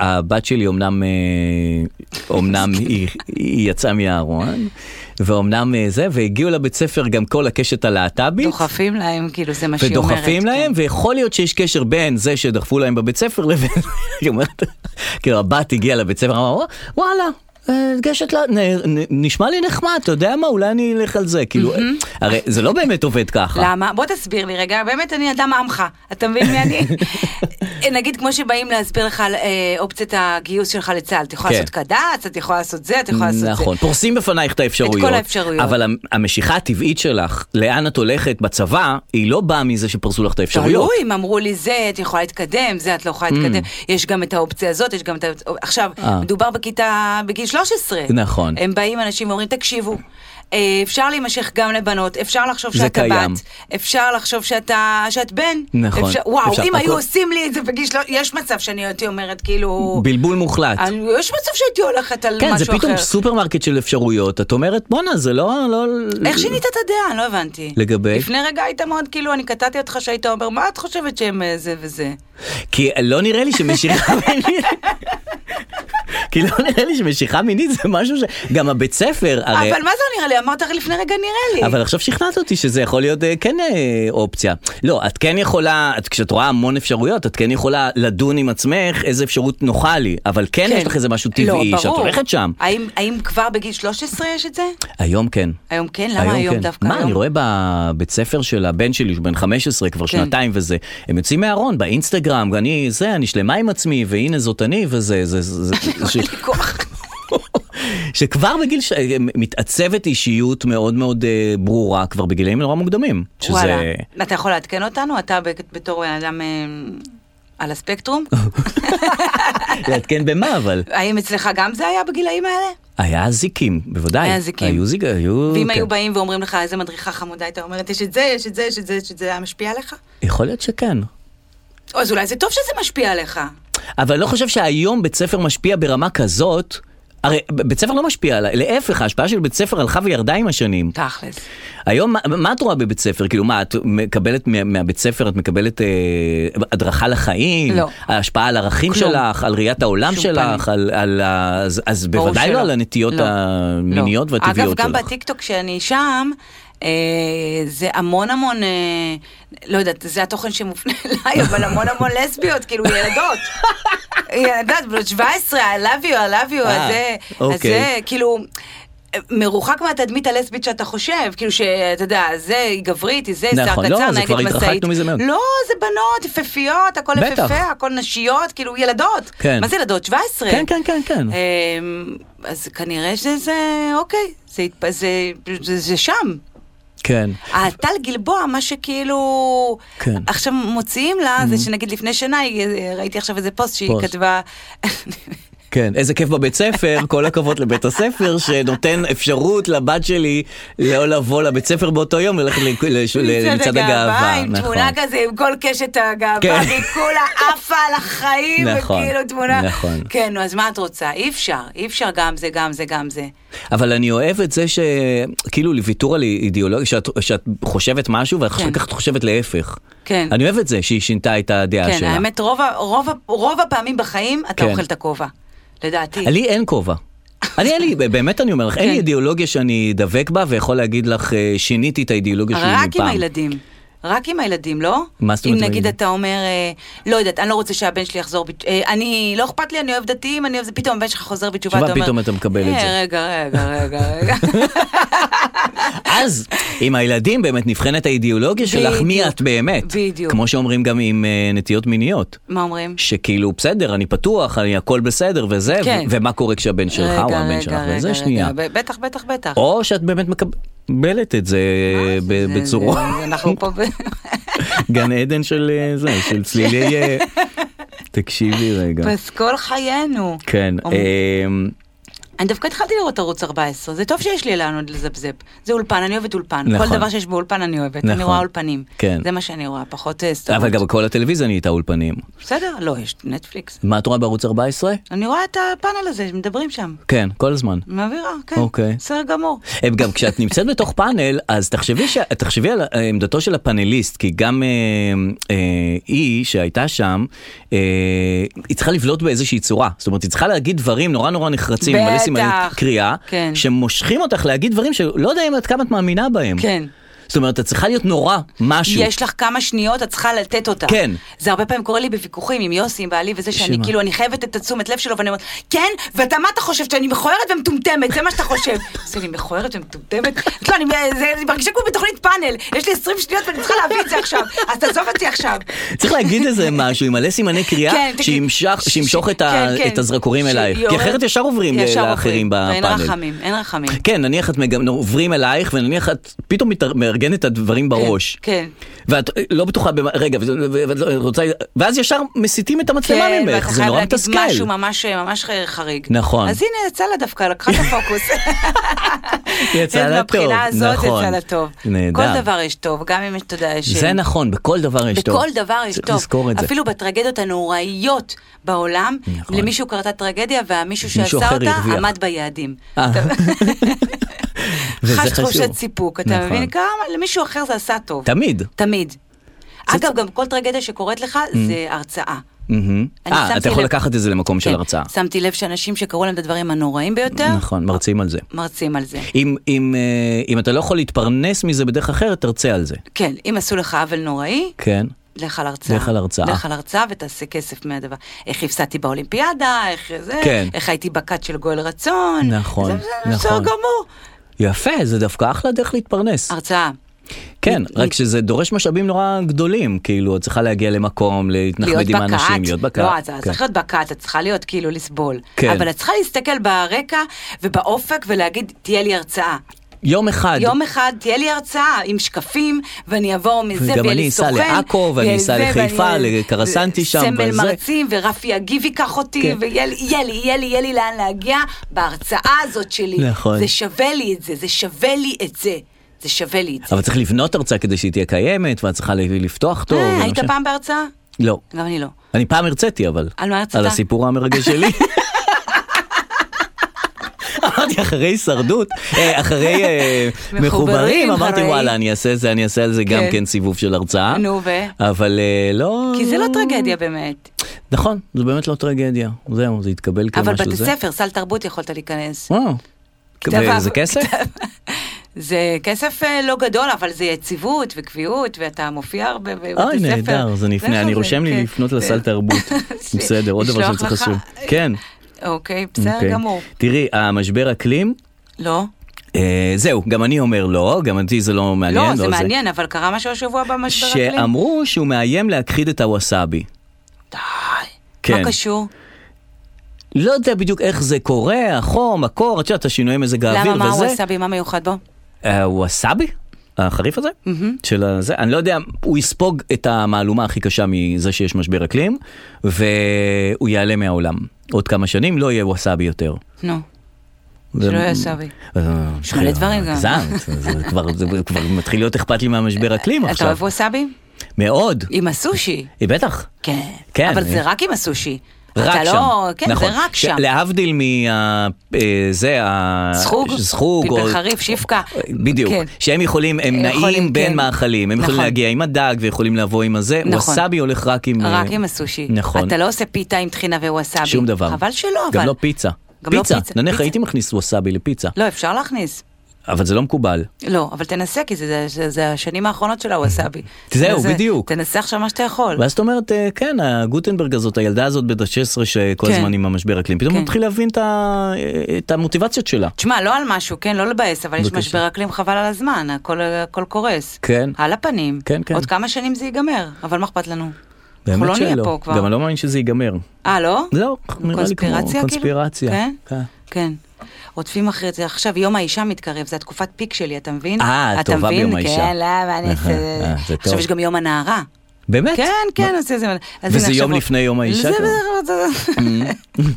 הבת שלי אומנם, אה, אומנם היא, היא יצאה מהארון, ואומנם אה, זה, והגיעו לבית ספר גם כל הקשת הלהט"בית.
דוחפים להם, כאילו, זה מה שהיא אומרת.
ודוחפים להם, ויכול להיות שיש קשר בין זה שדחפו להם בבית ספר לבין, היא אומרת, כאילו הבת הגיעה לבית ספר, אמרה, וואלה. אה, גשת לה, נ- נ- נשמע לי נחמד, אתה יודע מה, אולי אני אלך על זה, כאילו, הרי זה לא באמת עובד ככה.
למה? בוא תסביר לי רגע, באמת אני אדם עמך, אתה מבין מי אני? אה, נגיד כמו שבאים להסביר לך על אה, אופציית הגיוס שלך לצה"ל, אתה יכול
כן.
לעשות קד"צ, אתה יכול לעשות זה, אתה יכול לעשות זה.
נכון, פורסים בפנייך את האפשרויות.
האפשרויות.
אבל המ- המשיכה הטבעית שלך, לאן את הולכת בצבא, היא לא באה מזה שפרסו לך את האפשרויות.
תלוי אם אמרו לי זה, את יכולה להתקדם, זה את לא יכולה להתקדם, יש גם את האופציה הזאת, יש גם את ה... עכשיו,
Mm. אה.
מדובר בכיתה, בגיל 13.
נכון.
הם באים אנשים ואומרים, תקשיבו. אה, אפשר להימשך גם לבנות, אפשר לחשוב
זה
שאתה
קיים.
בת, אפשר לחשוב שאתה, שאת בן.
נכון.
אפשר, וואו,
אפשר-
אם
הכל-
היו עושים לי את זה בגיל שלוש, יש מצב שאני הייתי אומרת, כאילו...
בלבול מוחלט.
אני- יש מצב שהייתי הולכת על משהו
כן,
אחר.
זה פתאום סופרמרקט של אפשרויות, את אומרת, בואנה, זה לא... לא-
איך שינית את הדעה? אני לא הבנתי.
לגבי?
לפני רגע היית מאוד, כאילו, אני קטעתי אותך שהיית אומר, מה את חושבת שהם אה, זה וזה?
כי לא נראה לי שמשיכה מינית... כי לא נראה לי שמשיכה מינית זה משהו ש... גם הבית ספר, הרי...
אבל מה זה נראה לי? אמרת לפני רגע נראה לי.
אבל עכשיו שכנעת אותי שזה יכול להיות אה, כן אה, אופציה. לא, את כן יכולה, את, כשאת רואה המון אפשרויות, את כן יכולה לדון עם עצמך איזה אפשרות נוחה לי, אבל כן, יש לך איזה משהו טבעי
לא,
שאת
ברור.
הולכת שם.
האם, האם כבר בגיל 13 יש את זה?
היום כן.
היום כן? למה היום
כן.
דווקא
מה,
היום?
אני רואה בבית ספר של הבן שלי, שהוא בן 15 כבר
כן.
שנתיים וזה, הם יוצאים מהארון באינסטגרם, אני זה, אני שלמה עם עצמי, והנה זאת אני, וזה, זה, זה, זה, ש-
אין לא לי כוח.
שכבר בגיל, ש... אה, מתעצבת אישיות מאוד מאוד אה, ברורה כבר בגילאים נורא מוקדמים. שזה...
וואלה. אתה יכול לעדכן אותנו? אתה ב- בתור בן אדם אה, על הספקטרום?
לעדכן במה אבל?
האם אצלך גם זה היה בגילאים האלה?
היה אזיקים, בוודאי.
היה אזיקים.
היו זיק, היו...
ואם
כן.
היו באים ואומרים לך איזה מדריכה חמודה הייתה אומרת יש את זה, יש את זה, יש את זה, יש את זה, היה משפיע עליך?
יכול להיות שכן.
או, אז אולי זה טוב שזה משפיע עליך.
אבל אני לא חושב שהיום בית ספר משפיע ברמה כזאת. הרי ב- בית ספר לא משפיע עליי, להפך, ההשפעה של בית ספר הלכה וירדה עם השנים.
תכלס.
היום, מה, מה את רואה בבית ספר? כאילו, מה, את מקבלת מה, מהבית ספר, את מקבלת אה, הדרכה לחיים?
לא.
השפעה על ערכים
כלום.
שלך, על ראיית העולם
שום
שלך, על, על, ה- אז, אז
ברור
בוודאי
שלא.
לא על הנטיות
לא.
המיניות
לא.
והטבעיות
אגב, גם
שלך.
בטיקטוק שאני שם, אה, זה המון המון, אה, לא יודעת, זה התוכן שמופנה אליי, אבל המון המון לסביות, כאילו ילדות. ילדות, בנות 17, I love you, I love you,
אה,
אז זה, אז
אוקיי.
זה, כאילו... אה, מרוחק מהתדמית הלסבית שאתה חושב, כאילו שאתה יודע, זה היא גברית, היא זה, שיער
נכון, לא,
קצר,
זה
נהגת
כבר התרחקנו
משאית.
מזה מאוד.
לא, זה בנות, יפהפיות, הכל
בטח.
יפהפה, הכל נשיות, כאילו ילדות.
כן.
מה זה ילדות? 17.
כן, כן, כן, כן.
אמ, אז כנראה שזה, אוקיי, זה, התפ- זה, זה, זה שם.
כן.
הטל גלבוע, מה שכאילו
כן. Mm.
עכשיו מוציאים לה, זה שנגיד לפני שנה, היא- ראיתי עכשיו איזה פוסט שהיא
פוסט.
כתבה,
כן, איזה כיף בבית ספר, כל הכבוד לבית הספר שנותן אפשרות לבת שלי לא לבוא לבית ספר באותו יום וללכת לק- לש- למצעד הגאווה.
עם
נכון.
תמונה כזה, עם כל קשת הגאווה,
כן.
והיא כולה עפה על החיים,
נכון,
וכאילו תמונה,
נכון.
כן, נו, אז מה את רוצה? אי אפשר, אי אפשר גם זה, גם זה, גם זה.
אבל אני אוהב את זה שכאילו לוויתור על אידיאולוגיה, שאת, שאת חושבת משהו ואחר
כן.
כך את חושבת להפך.
כן.
אני אוהב את זה שהיא שינתה את הדעה
כן,
שלה.
האמת, רוב ה- רוב ה- רוב הפעמים בחיים אתה
כן.
אוכל את הכובע, לדעתי.
לי אין כובע. אני אין לי, באמת אני אומר לך, אין
כן.
לי אידיאולוגיה שאני דבק בה ויכול להגיד לך, אה, שיניתי את האידיאולוגיה שלי
רק
מפעם.
עם הילדים. רק עם הילדים, לא?
מה זאת אומרת
אם נגיד
הילדים?
אתה אומר, אה, לא יודעת, אני לא רוצה שהבן שלי יחזור, בת- אה, אני, לא אכפת לי, אני אוהב דתיים, אני אוהב זה, פתאום הבן שלך חוזר בתשובה,
תשובה,
אתה אומר,
פתאום אתה מקבל את
"אה,
זה."
רגע, רגע, רגע, רגע.
אז עם הילדים באמת נבחנת האידיאולוגיה שלך, מי
בדיוק.
את באמת.
בדיוק.
כמו שאומרים גם עם אה, נטיות מיניות.
מה אומרים?
שכאילו בסדר, אני פתוח, אני הכל בסדר וזה,
כן.
ו- ומה קורה כשהבן שלך או
רגע,
הבן
רגע,
שלך
רגע,
וזה,
רגע,
שנייה.
ב- בטח, בטח, בטח.
או שאת באמת מקבלת את זה
אה,
ב-
זה-
בצורה,
זה- אנחנו פה ב...
גן עדן של אה, זה, של צלילי... אה, תקשיבי רגע.
פסקול חיינו.
כן,
אומ-
אמ,
אני דווקא התחלתי לראות ערוץ 14, זה טוב שיש לי לאן עוד לזפזפ. זה אולפן, אני אוהבת אולפן.
נכון.
כל דבר שיש באולפן אני אוהבת,
נכון.
אני רואה אולפנים.
כן.
זה מה שאני רואה, פחות אה, סדרות.
אבל גם כל הטלוויזיה נהייתה אולפנים.
בסדר, לא, יש נטפליקס.
מה את רואה בערוץ 14?
אני רואה את הפאנל הזה, מדברים שם.
כן, כל הזמן. מעבירה,
מעבירה, כן.
אוקיי.
בסדר גמור.
הם גם כשאת נמצאת בתוך פאנל, אז תחשבי, ש... תחשבי על עמדתו של הפאנליסט, כי גם אה, אה, היא שהייתה שם, אה, היא צריכה לבלוט באיזושהי צורה. זאת אומרת, היא צריכה להגיד דברים נורא נורא נחרצים, מלא
בטח.
סימני קריאה,
כן.
שמושכים אותך להגיד דברים שלא יודע אם עד כמה את מאמינה בהם.
כן.
זאת אומרת, את צריכה להיות נורא משהו.
יש לך כמה שניות, את צריכה לתת אותה.
כן.
זה הרבה פעמים קורה לי בוויכוחים עם יוסי, עם בעלי, וזה שאני
שמה?
כאילו, אני חייבת את התשומת לב שלו, ואני אומרת, כן, ואתה מה אתה חושב, שאני מכוערת ומטומטמת, זה מה שאתה חושב. אז אני מכוערת ומטומטמת? לא, אני זה- אני מרגישה כמו בתוכנית פאנל, יש לי 20 שניות ואני צריכה להביא את זה עכשיו, אז תעזוב אותי עכשיו.
צריך להגיד איזה משהו עם מלא סימני קריאה
כן, תגיד-
שימשך-
ש-
שימשוך
ש-
את, ה,
כן, כן.
את הזרקורים
שהיא
אלייך, כי
יורדת-
אחרת ישר עוברים
ישר
לאחרים בפאנל.
ואין רחמים, אין רחמים.
כן, נניח את מג... עוברים אלייך, ונניח את פתאום מתאר- מארגנת את הדברים בראש.
כן.
ואת אה, לא בטוחה, במה- רגע, ואת- ואת לא- רוצה... ואז ישר מסיטים את המצלמה
כן,
ממך,
ואתה
זה
חייב
נורא
להגיד
מתסכל.
משהו ממש אה, ממש חריג.
נכון.
אז הנה יצא לה דווקא, לקחה את הפוקוס.
יצא לה טוב,
מבחינה כן, הזאת
נכון.
יצא לה טוב.
נהדר.
כל דבר יש טוב, גם אם יש, אתה יודע, יש...
זה נכון, בכל דבר יש טוב.
בכל דבר יש
צריך
טוב,
לזכור את זה.
אפילו בטרגדיות הנוראיות בעולם,
נכון.
למישהו קרתה טרגדיה והמישהו שעשה
מישהו אחר
אותה
הרוויח.
עמד ביעדים.
אה. וזה
חש
חשוב.
תחושת סיפוק, אתה
נכון.
מבין? כמה למישהו אחר זה עשה טוב.
תמיד.
תמיד. אגב, גם כל טרגדיה שקורית לך
Mm.
זה הרצאה.
מהמם.
אני
אה, אתה
שמתי
יכול
לב-
לקחת את זה למקום של
כן.
הרצאה.
שמתי לב שאנשים שקראו להם את הדברים הנוראים ביותר,
נכון, מרצים על זה.
מרצים על זה.
אם, אם, אה, אם אתה לא יכול להתפרנס מזה בדרך אחרת, תרצה על זה.
כן, אם עשו לך עוול נוראי,
כן.
לך על הרצאה.
לך על הרצאה.
לך על הרצאה ותעשה כסף מהדבר. איך הפסדתי באולימפיאדה, איך זה,
כן.
איך הייתי בכת של גואל רצון.
נכון,
זה- זה
נכון.
בסדר גמור.
יפה, זה דווקא אחלה דרך להתפרנס.
הרצאה.
כן,
מת-
רק
מת-
שזה דורש משאבים נורא גדולים, כאילו, את צריכה להגיע למקום, להתנחמד
להיות
עם
בקעת.
האנשים, להיות בקעת.
לא, אז אז
כן.
צריך להיות בקעת, את צריכה להיות כאילו לסבול.
כן.
אבל את צריכה להסתכל ברקע ובאופק ולהגיד, תהיה לי הרצאה.
יום אחד.
יום אחד תהיה לי הרצאה עם שקפים, ואני אבוא מזה,
וגם
ויהיה
אני
לי
אסע
סוכן.
לעכו, ואני
ויהיה
אסע
זה,
לחיפה,
ואני- אה,
לקרסנטי שם,
סמל
וזה.
מרצים, ורפי יגיב ייקח אותי,
כן.
ויהיה לי, יהיה לי, יהיה לי, יהיה לי לאן להגיע בהרצאה הזאת שלי.
נכון.
זה שווה לי את זה, זה שווה לי את זה. זה שווה לי את זה.
אבל צריך לבנות הרצאה כדי שהיא תהיה קיימת, ואת צריכה ל- לפתוח טוב.
אה,
ולא
היית
משנה.
פעם בהרצאה?
לא.
גם אני לא.
אני פעם הרציתי, אבל.
על מה הרצית?
על הסיפור המרגש שלי. אמרתי אחרי הישרדות, אה, אחרי אה,
מחוברים,
מחוברים, אמרתי
אחרי-
וואלה אני אעשה את זה, אני אעשה על זה גם
כן.
כן סיבוב של הרצאה.
נו, ו?
אבל אה, לא...
כי זה לא טרגדיה באמת.
נכון, זה באמת לא טרגדיה. זהו, זה התקבל כמשהו
אבל
זה.
בית הספר, סל תרבות יכולת להיכנס.
וואו.
כתב-
וזה כסף?
זה כסף אה, לא גדול, אבל זה יציבות וקביעות, ואתה מופיע הרבה בבית הספר.
אוי, אה, נהדר, זה נפנה. אני
חשוב,
רושם לי
כן.
לפנות לסל תרבות. בסדר, עוד דבר
לשלוח
שצריך
לך?
לעשות. כן.
אוקיי, בסדר
אוקיי.
גמור.
תראי, המשבר אקלים,
לא?
אה, זהו, גם אני אומר לא, גם אותי זה לא מעניין.
לא, זה מעניין, אבל קרה משהו השבוע במשבר אקלים.
שאמרו שהוא מאיים להכחיד את הווסאבי.
די.
כן.
מה קשור?
לא יודע בדיוק איך זה קורה, החום, הקור, את יודעת, השינויי מזג האוויר
למה,
וזה.
מה הוא עשה בי? מה מיוחד בו?
אה, הווסאבי? החריף הזה? של הזה? אני לא יודע, הוא יספוג את המהלומה הכי קשה מזה שיש משבר אקלים, והוא ייעלם מהעולם. עוד כמה שנים לא יהיה ווסאבי יותר.
נו,
זה-
שלא יהיה סבי.
אה,
יש מלא דברים גם.
הגזמת, זה כבר- זה כבר מתחיל להיות אכפת לי מהמשבר אקלים
אתה
עכשיו.
אוהב ווסאבי?
מאוד.
עם הסושי.
היא בטח.
כן.
כן.
אבל זה רק עם הסושי.
רק
אתה
שם.
לא- כן,
נכון.
זה רק
ש-
שם.
להבדיל מה... אה, זה ה...
זחוג?
זחוג. או-
פלפל חריף, שיפקה.
בדיוק.
כן.
שהם יכולים, הם
יכולים,
נעים בין
כן.
מאכלים. הם יכולים
נכון.
להגיע עם הדג ויכולים לבוא עם הזה.
נכון.
ווסאבי הולך רק עם...
רק
אה,
עם הסושי.
נכון.
אתה לא עושה פיתה עם טחינה וווסאבי.
שום דבר.
חבל שלא, אבל.
גם לא פיצה.
גם לא
פיצה.
פיצה,
נניח
פיצה.
הייתי מכניס ווסאבי לפיצה.
לא, אפשר להכניס.
אבל זה לא מקובל.
לא, אבל תנסה, כי זה, זה, זה, זה השנים האחרונות של הווסאבי.
זהו,
תנסה-
בדיוק.
תנסה עכשיו מה שאתה יכול.
ואז את אומרת, אה, כן, הגוטנברג הזאת, הילדה הזאת בת ה-16 שכל
כן.
הזמן עם המשבר אקלים, פתאום
כן.
הוא מתחיל להבין את ה- אה, את המוטיבציות שלה.
תשמע, לא על משהו, כן? לא לבאס, אבל יש
בבקשה.
משבר אקלים חבל על הזמן, הכל, הכל קורס.
כן.
על הפנים.
כן, כן.
עוד כמה שנים זה ייגמר, אבל מה אכפת לנו? אנחנו
באמת
לא נהיה פה
שלא.
כבר.
גם אני לא מאמין שזה ייגמר.
אה, לא?
זהו, נראה לי כמו
קונספירציה, כאילו?
קונספירציה.
כן?
כן.
כן. רודפים אחרי זה. עכשיו יום האישה מתקרב, זה התקופת פיק שלי, אתה מבין?
אה,
אתה
טובה
מבין?
ביום האישה.
כן, למה אני...
אהה, אה, זה טוב.
עכשיו יש גם יום הנערה.
באמת?
כן, כן, אז זה... אז הנה,
וזה
עכשיו
יום
עוד-
לפני יום האישה
זה
כבר.
בדרך כלל...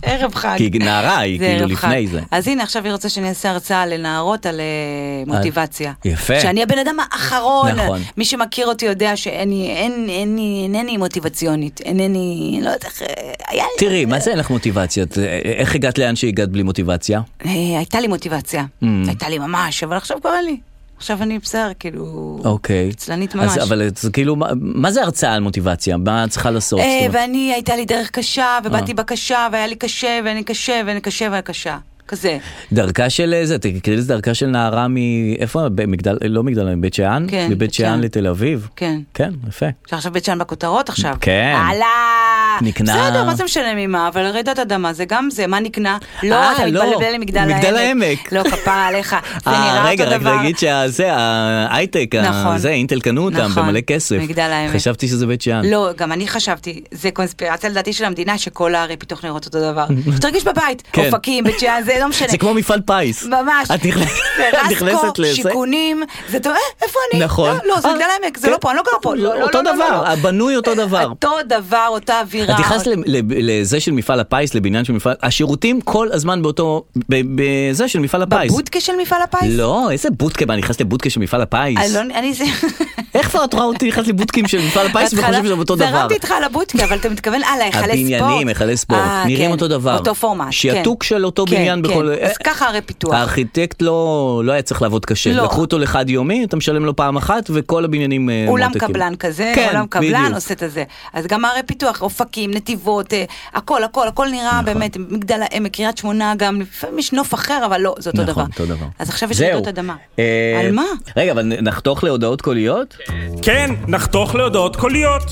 ערב חג.
כי היא נערה, היא
זה לא
כאילו
ערב חג.
לפני זה.
אז הנה, עכשיו היא רוצה שאני אעשה הרצאה לנערות על אה, מוטיבציה.
יפה.
שאני הבן אדם האחרון.
נכון.
מי שמכיר אותי יודע שאני אין- אין- אינני מוטיבציונית, אינני... לא יודעת איך... אה, היה לי-
תראי, מה זה אין לך מוטיבציות? אה, איך הגעת לאן שהגעת בלי מוטיבציה?
אה, הייתה לי מוטיבציה,
Mm.
הייתה לי ממש, אבל עכשיו כבר אין לי. עכשיו אני בסדר, כאילו...
אוקיי.
עצלנית
אז-
ממש.
אבל זה כאילו, מה- מה זה הרצאה על מוטיבציה? מה את צריכה לעשות?
אה,
זאת אומרת,
ואני, הייתה לי דרך קשה,
אה.
ובאתי בקשה, והיה לי קשה, ואני קשה, ואני קשה, ואני קשה. כזה.
דרכה של אה, זה, תקראי לזה דרכה של נערה מ... איפה? במגדל, לא מגדל, מבית שאן?
כן,
מבית
בית שאן.
שאן לתל אביב?
כן.
כן, יפה.
שעכשיו בית שאן בכותרות עכשיו.
כן.
הלאה.
נקנה.
בסדר, מה זה משנה ממה, אבל רעידת אדמה זה גם זה, מה נקנה? לא,
אה,
אתה
לא.
מתבלבל למגדל העמק.
מגדל העמק.
לא, כפרה עליך. זה
אה,
נראה
רגע,
אותו
רק
דבר.
נגיד שזה, ההייטק, ה-
נכון.
זה, אינטל קנו אותם
נכון,
במלא כסף.
מגדל העמק.
חשבתי שזה בית שאן.
לא, גם אני חשבתי, זה קונספירציה לדעתי של המדינה, שכל הערי פיתוח נראות אותו דבר. שתרגיש בבית,
כן.
אופקים, בית שאן, זה לא משנה.
זה כמו מפעל פיס.
ממש.
את נכנס- את נכנסת
ורסקו,
לזה.
שיכונים, זה אתה אומר, "אה, איפה אני?
נכון.
לא, לא, זה
אה,
מגדל העמק, זה
כן.
לא פה, אני לא גר פה. לא, לא,
אותו
לא, לא, לא, אה,
דבר,
לא.
הבנוי אותו דבר.
אותו דבר, אותה אווירה.
את נכנסת ל- ל- לזה של מפעל הפיס, לבניין של מפעל, השירותים כל הזמן באותו, ב- בזה של מפעל הפיס.
בבודקה של מפעל הפיס?
לא, איזה בודקה, מה, נכנסת לבודקה של מפעל הפיס?
אני לא- אני זה...
איך כבר את רואה אותי נכנסת לבודקים של מפעל הפיס
בהתחלה
וחושבת שזה אותו דבר?
זרמתי איתך על הבודקה, אבל אתה מתכוון על ההיכלי ספורט.
הבניינים, היכלי ספורט,
אה,
נראים
כן,
אותו דבר.
אותו פורמט, כן.
שיתוק של אותו
כן,
בניין
כן.
בכל... אה,
אז ככה ערי פיתוח.
הארכיטקט לא לא היה צריך לעבוד קשה.
לא.
לקחו אותו לחד יומי, אתה משלם לו פעם אחת, וכל הבניינים אה,
אולם
מועתקים.
קבלן כזה,
כן,
אולם קבלן
בדיוק.
עושה את הזה. אז גם ערי פיתוח, אופקים, נתיבות, אה, הכל, הכל, הכל
נכון.
נראה באמת, מגדל העמק, קריית שמונה גם, לפעמים יש נוף אחר, אבל לא, זה אותו דבר.
נכון, אותו דבר.
אז עכשיו יש
זהו.
רעידות אדמה.
אה,
על מה?
רגע, אבל נ- נחתוך להודעות קוליות?
כן, נחתוך להודעות קוליות.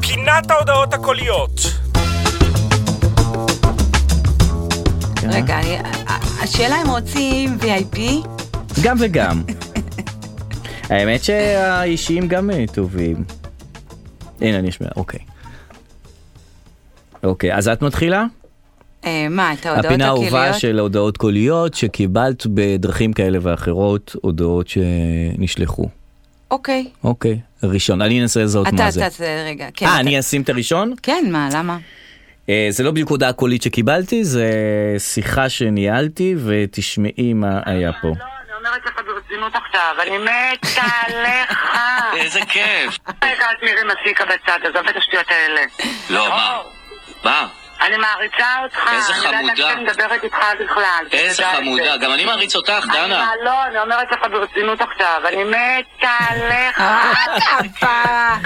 פינת ההודעות הקוליות.
רגע, אני- השאלה אם רוצים VIP?
גם וגם. האמת שהאישיים גם אה, טובים. הנה, אני אשמע, אוקיי. אוקיי, אז את מתחילה?
אה, מה, את ההודעות
הפינה האהובה
הקהיליות?
של הודעות קוליות שקיבלת בדרכים כאלה ואחרות, הודעות שנשלחו.
אוקיי.
אוקיי, ראשון, אני אנסה לזהות
אתה,
מה
אתה,
זה.
אתה, רגע. כן,
אה,
אתה-
אני אשים את הראשון?
כן, מה, למה?
אה, זה לא בדיוק הודעה קולית שקיבלתי, זה שיחה שניהלתי, ותשמעי מה היה פה.
לא, אני אומרת לך ברצינות עכשיו, אני מתה עליך.
איזה כיף.
רגע, את מירי מסיקה בצד, עזוב את השטויות האלה.
לא, מה?
אור,
מה?
אני מעריצה אותך.
איזה
אני יודעת
חמודה.
שאני מדברת איתך בכלל.
איזה
אתה יודע את
חמודה.
זה.
גם אני מעריץ אותך,
אני
דנה.
מה- לא, אני אומרת לך ברצינות עכשיו, אני מתה עליך.
אה, כפרה.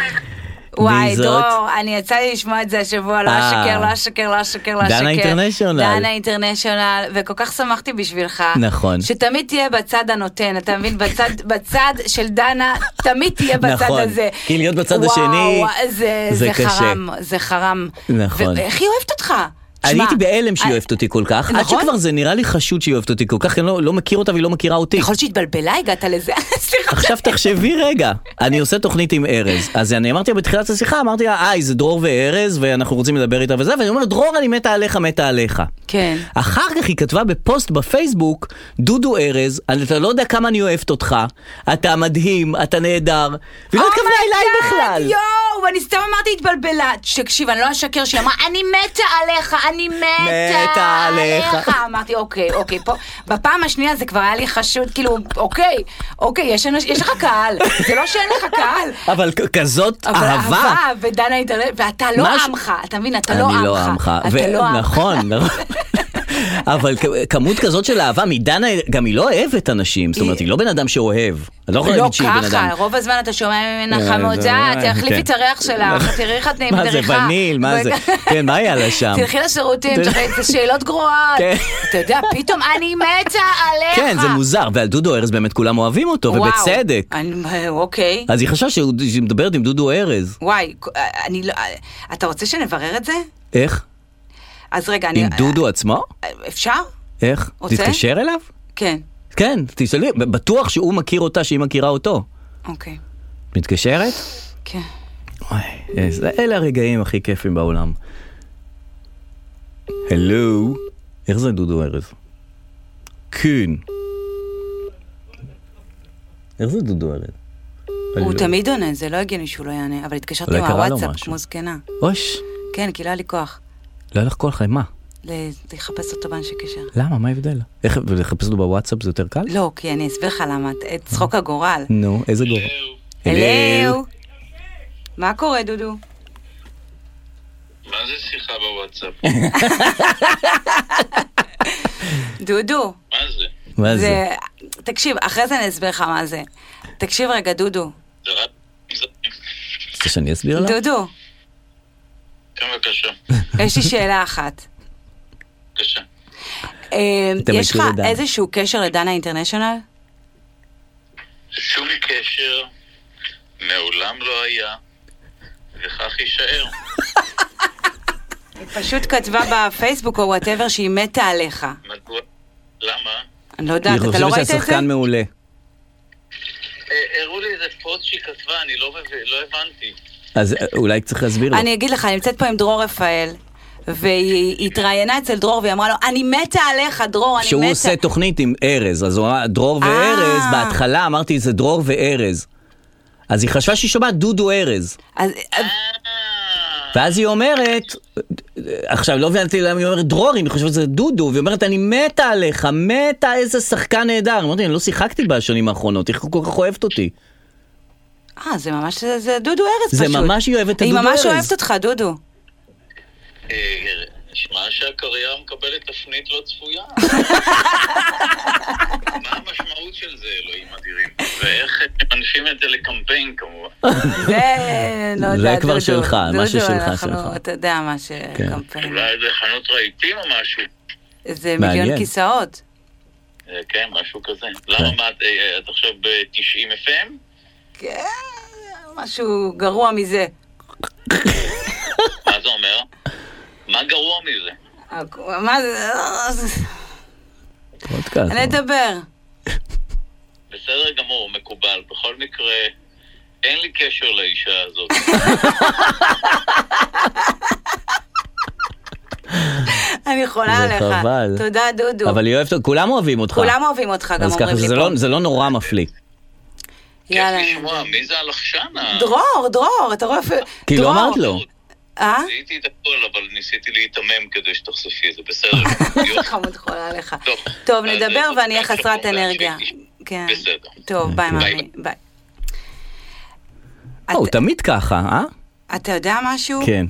וואי,
זאת?
דרור, אני יצא לי לשמוע את זה השבוע, לא
אה.
אשקר, לא אשקר, לא אשקר, לא אשקר.
דנה אינטרנשיונל.
דנה אינטרנשיונל, וכל כך שמחתי בשבילך.
נכון.
שתמיד תהיה בצד הנותן, אתה מבין? בצד, בצד של דנה, תמיד תהיה בצד
נכון.
הזה.
כי להיות בצד
וואו, אה,
השני,
זה,
זה
זה
קשה.
חרם, זה חרם.
נכון.
ואיך היא אוהבת אותך?
אני
תשמע,
הייתי בהלם שהיא
אה,
אוהבת אותי כל כך, עד
נכון?
שכבר זה נראה לי חשוד שהיא אוהבת אותי כל כך, כי אני לא לא מכיר אותה והיא לא מכירה אותי.
יכול להיות שהתבלבלה, הגעת לזה. סליחה.
עכשיו תחשבי רגע, אני עושה תוכנית עם ארז, אז אני אמרתי לה בתחילת השיחה, אמרתי לה, היי, זה דרור וארז, ואנחנו רוצים לדבר איתה וזה, ואני אומר, דרור, אני מתה עליך, מתה עליך.
כן.
אחר כך היא כתבה בפוסט בפייסבוק, דודו ארז, אני- אתה לא יודע כמה אני אוהבת אותך, אתה מדהים, אתה נהדר, והיא לא התכוונה אליי בכלל.
Oh יואו, אני סתם אמרתי התבלבלה. תקשיב, אני לא אשקר שהיא אמרה, אני מתה עליך, אני מתה,
מתה עליך."
אמרתי, אוקיי, אוקיי, פה, בפעם השנייה זה כבר היה לי חשוד, כאילו, אוקיי, אוקיי, יש, אנש, יש לך קהל, זה לא שאין לך קהל.
אבל כ- כזאת
אבל
אהבה.
אהבה, ודנה התעלמת, ואתה לא
משהו-
עמך, אתה מבין, אתה לא עמך.
אני לא עמך.
אתה
ו-
לא עמך.
נכון, נכון. אבל כ- כמות כזאת של אהבה, מדנה, גם היא לא אוהבת אנשים, זאת אומרת, היא לא בן אדם שאוהב. את לא יכולה
לא
להגיד שהיא בן
ככה,
אדם.
רוב הזמן אתה שומע ממנה
אה,
חמוד,
זה-
אה, תחליפי
כן.
את הריח שלך, תראי איך את נהיית
מה זה,
בדריכה.
וניל, מה זה? כן, מה היה לה שם?
תלכי לשירותים, תראי את השאלות גרועות.
כן.
אתה יודע, פתאום אני מתה עליך.
כן, זה מוזר, ועל דודו ארז באמת כולם אוהבים אותו,
וואו.
ובצדק.
אני- אוקיי.
אז היא חשבה שהוא- שהיא מדברת עם דודו ארז.
וואי, אני לא... אתה רוצה שנברר את זה?
איך?
אז רגע, אני...
עם דודו עצמו?
אפשר?
איך?
רוצה?
תתקשר אליו?
כן,
כן, תשאלי, בטוח שהוא מכיר אותה שהיא מכירה אותו.
אוקיי.
מתקשרת?
כן.
וואי, איזה- אלה הרגעים הכי כיפים בעולם. הלו, איך זה דודו ארז? כן. איך זה דודו ארז?
הוא
הלו.
תמיד עונה, זה לא הגיוני שהוא לא יענה, אבל התקשרתי
אולי קרה לו
מהוואטסאפ
משהו.
כמו זקנה.
אוש,
כן, כי לא היה לי כוח.
לא היה לך כוח למה?
ל- לחפש אותו באנשי קשר.
למה? מה ההבדל? איך, ולחפש אותו בוואטסאפ זה יותר קל?
לא, כי אני אסביר לך למה, את- את צחוק הגורל.
נו, איזה גורם.
הלו. מה קורה, דודו?
מה זה שיחה בוואטסאפ?
דודו,
מה זה?
מה זה?
זה... תקשיב, אחרי זה אני אסביר לך מה זה. תקשיב רגע, דודו.
זה רק...
רוצה שאני אסביר לה?
דודו,
כן, בבקשה.
יש לי שאלה אחת.
בבקשה.
אה,
אתה
יש לך
מכיר את דנה.
איזשהו קשר לדנה אינטרנשיונל?
שום קשר מעולם לא היה, וכך יישאר.
היא פשוט כתבה בפייסבוק או וואטאבר שהיא מתה עליך.
מדוע? למה?
אני לא
אני
יודעת, אתה לא
חושבת
ראית את זה?
שהשחקן מעולה.
אה, הראו לי איזה פוסט שהיא כתבה, אני לא מבין- לא הבנתי.
אז אה, אולי צריך להסביר לו.
אני אגיד לך, אני נמצאת פה עם דרור רפאל. והיא התראיינה אצל דרור והיא אמרה לו, אני מתה עליך, דרור, אני מתה.
שהוא עושה תוכנית עם ארז, אז הוא אמר, דרור
אה.
וארז, בהתחלה אמרתי זה דרור וארז. אז היא חשבה שהיא שומעת דודו ארז.
אז- אז-
ואז היא אומרת, עכשיו לא הבנתי למה היא אומרת דרור, אם היא חושבת שזה דודו, והיא אומרת אני מתה עליך, מתה איזה שחקן נהדר. אמרתי, אני לא שיחקתי בשנים האחרונות, איך היא כל כך אוהבת אותי?
אה, זה ממש, זה- זה דודו ארז
זה
פשוט.
ממש היא אוהבת את דודו
היא ממש
ארז.
אוהבת אותך, דודו.
אה, נשמע שהקריירה מקבלת תפנית לא צפויה. מה המשמעות של זה, אלוהים אדירים? ואיך מנפים את זה לקמפיין, כמובן.
זה, לא
זה
יודע, דודו.
כבר שלך, מה
דודו,
ששלך,
אנחנו-
שלך.
אתה יודע מה שקמפיין.
אולי איזה חנות רהיטים או משהו. כן.
זה
מעניין.
מיליון כיסאות.
אה, כן, משהו כזה. למה, מה, את- אה, אה, את עכשיו ב-90 FM?
כן, משהו גרוע מזה.
מה זה אומר? מה גרוע מזה?
מה זה?
פודקאסט.
אני אדבר.
בסדר גמור, מקובל. בכל מקרה, אין לי קשר לאישה הזאת.
אני חולה
זה
עליך.
חבל.
תודה, דודו.
אבל היא אוהבת, כולם אוהבים אותך.
כולם אוהבים אותך, גם
אז ככה
אומרים לי
שזה
פה.
לא- זה לא נורא מפליא.
כיף
יאללה.
לשמוע, מי זה הלחשן? ה-
דרור, דרור, אתה רואה... אפילו-
כי לא
דרור.
אמרת לו.
אה?
זיהיתי את הכל, אבל ניסיתי להיתמם כדי שתחשפי, זה בסדר.
לא
יופי.
חמוד חולה עליך.
טוב.
טוב,
אז,
נדבר
אה,
ואני אהיה
תודה,
חסרת
תודה,
אנרגיה.
שהייתי.
כן.
בסדר.
טוב, ביי,
ביי.
מאמי. ביי.
אה, הוא תמיד ככה, אה?
אתה יודע משהו?
כן.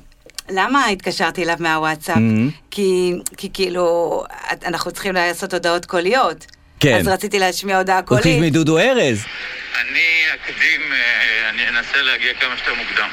למה התקשרתי אליו מהוואטסאפ?
Mhm.
כי, כי כאילו, את- אנחנו צריכים לעשות הודעות קוליות.
כן.
אז רציתי להשמיע הודעה
הוא חושב
קולית.
מדודו ארז.
אני אקדים, אה, אני אנסה להגיע כמה שיותר מוקדם.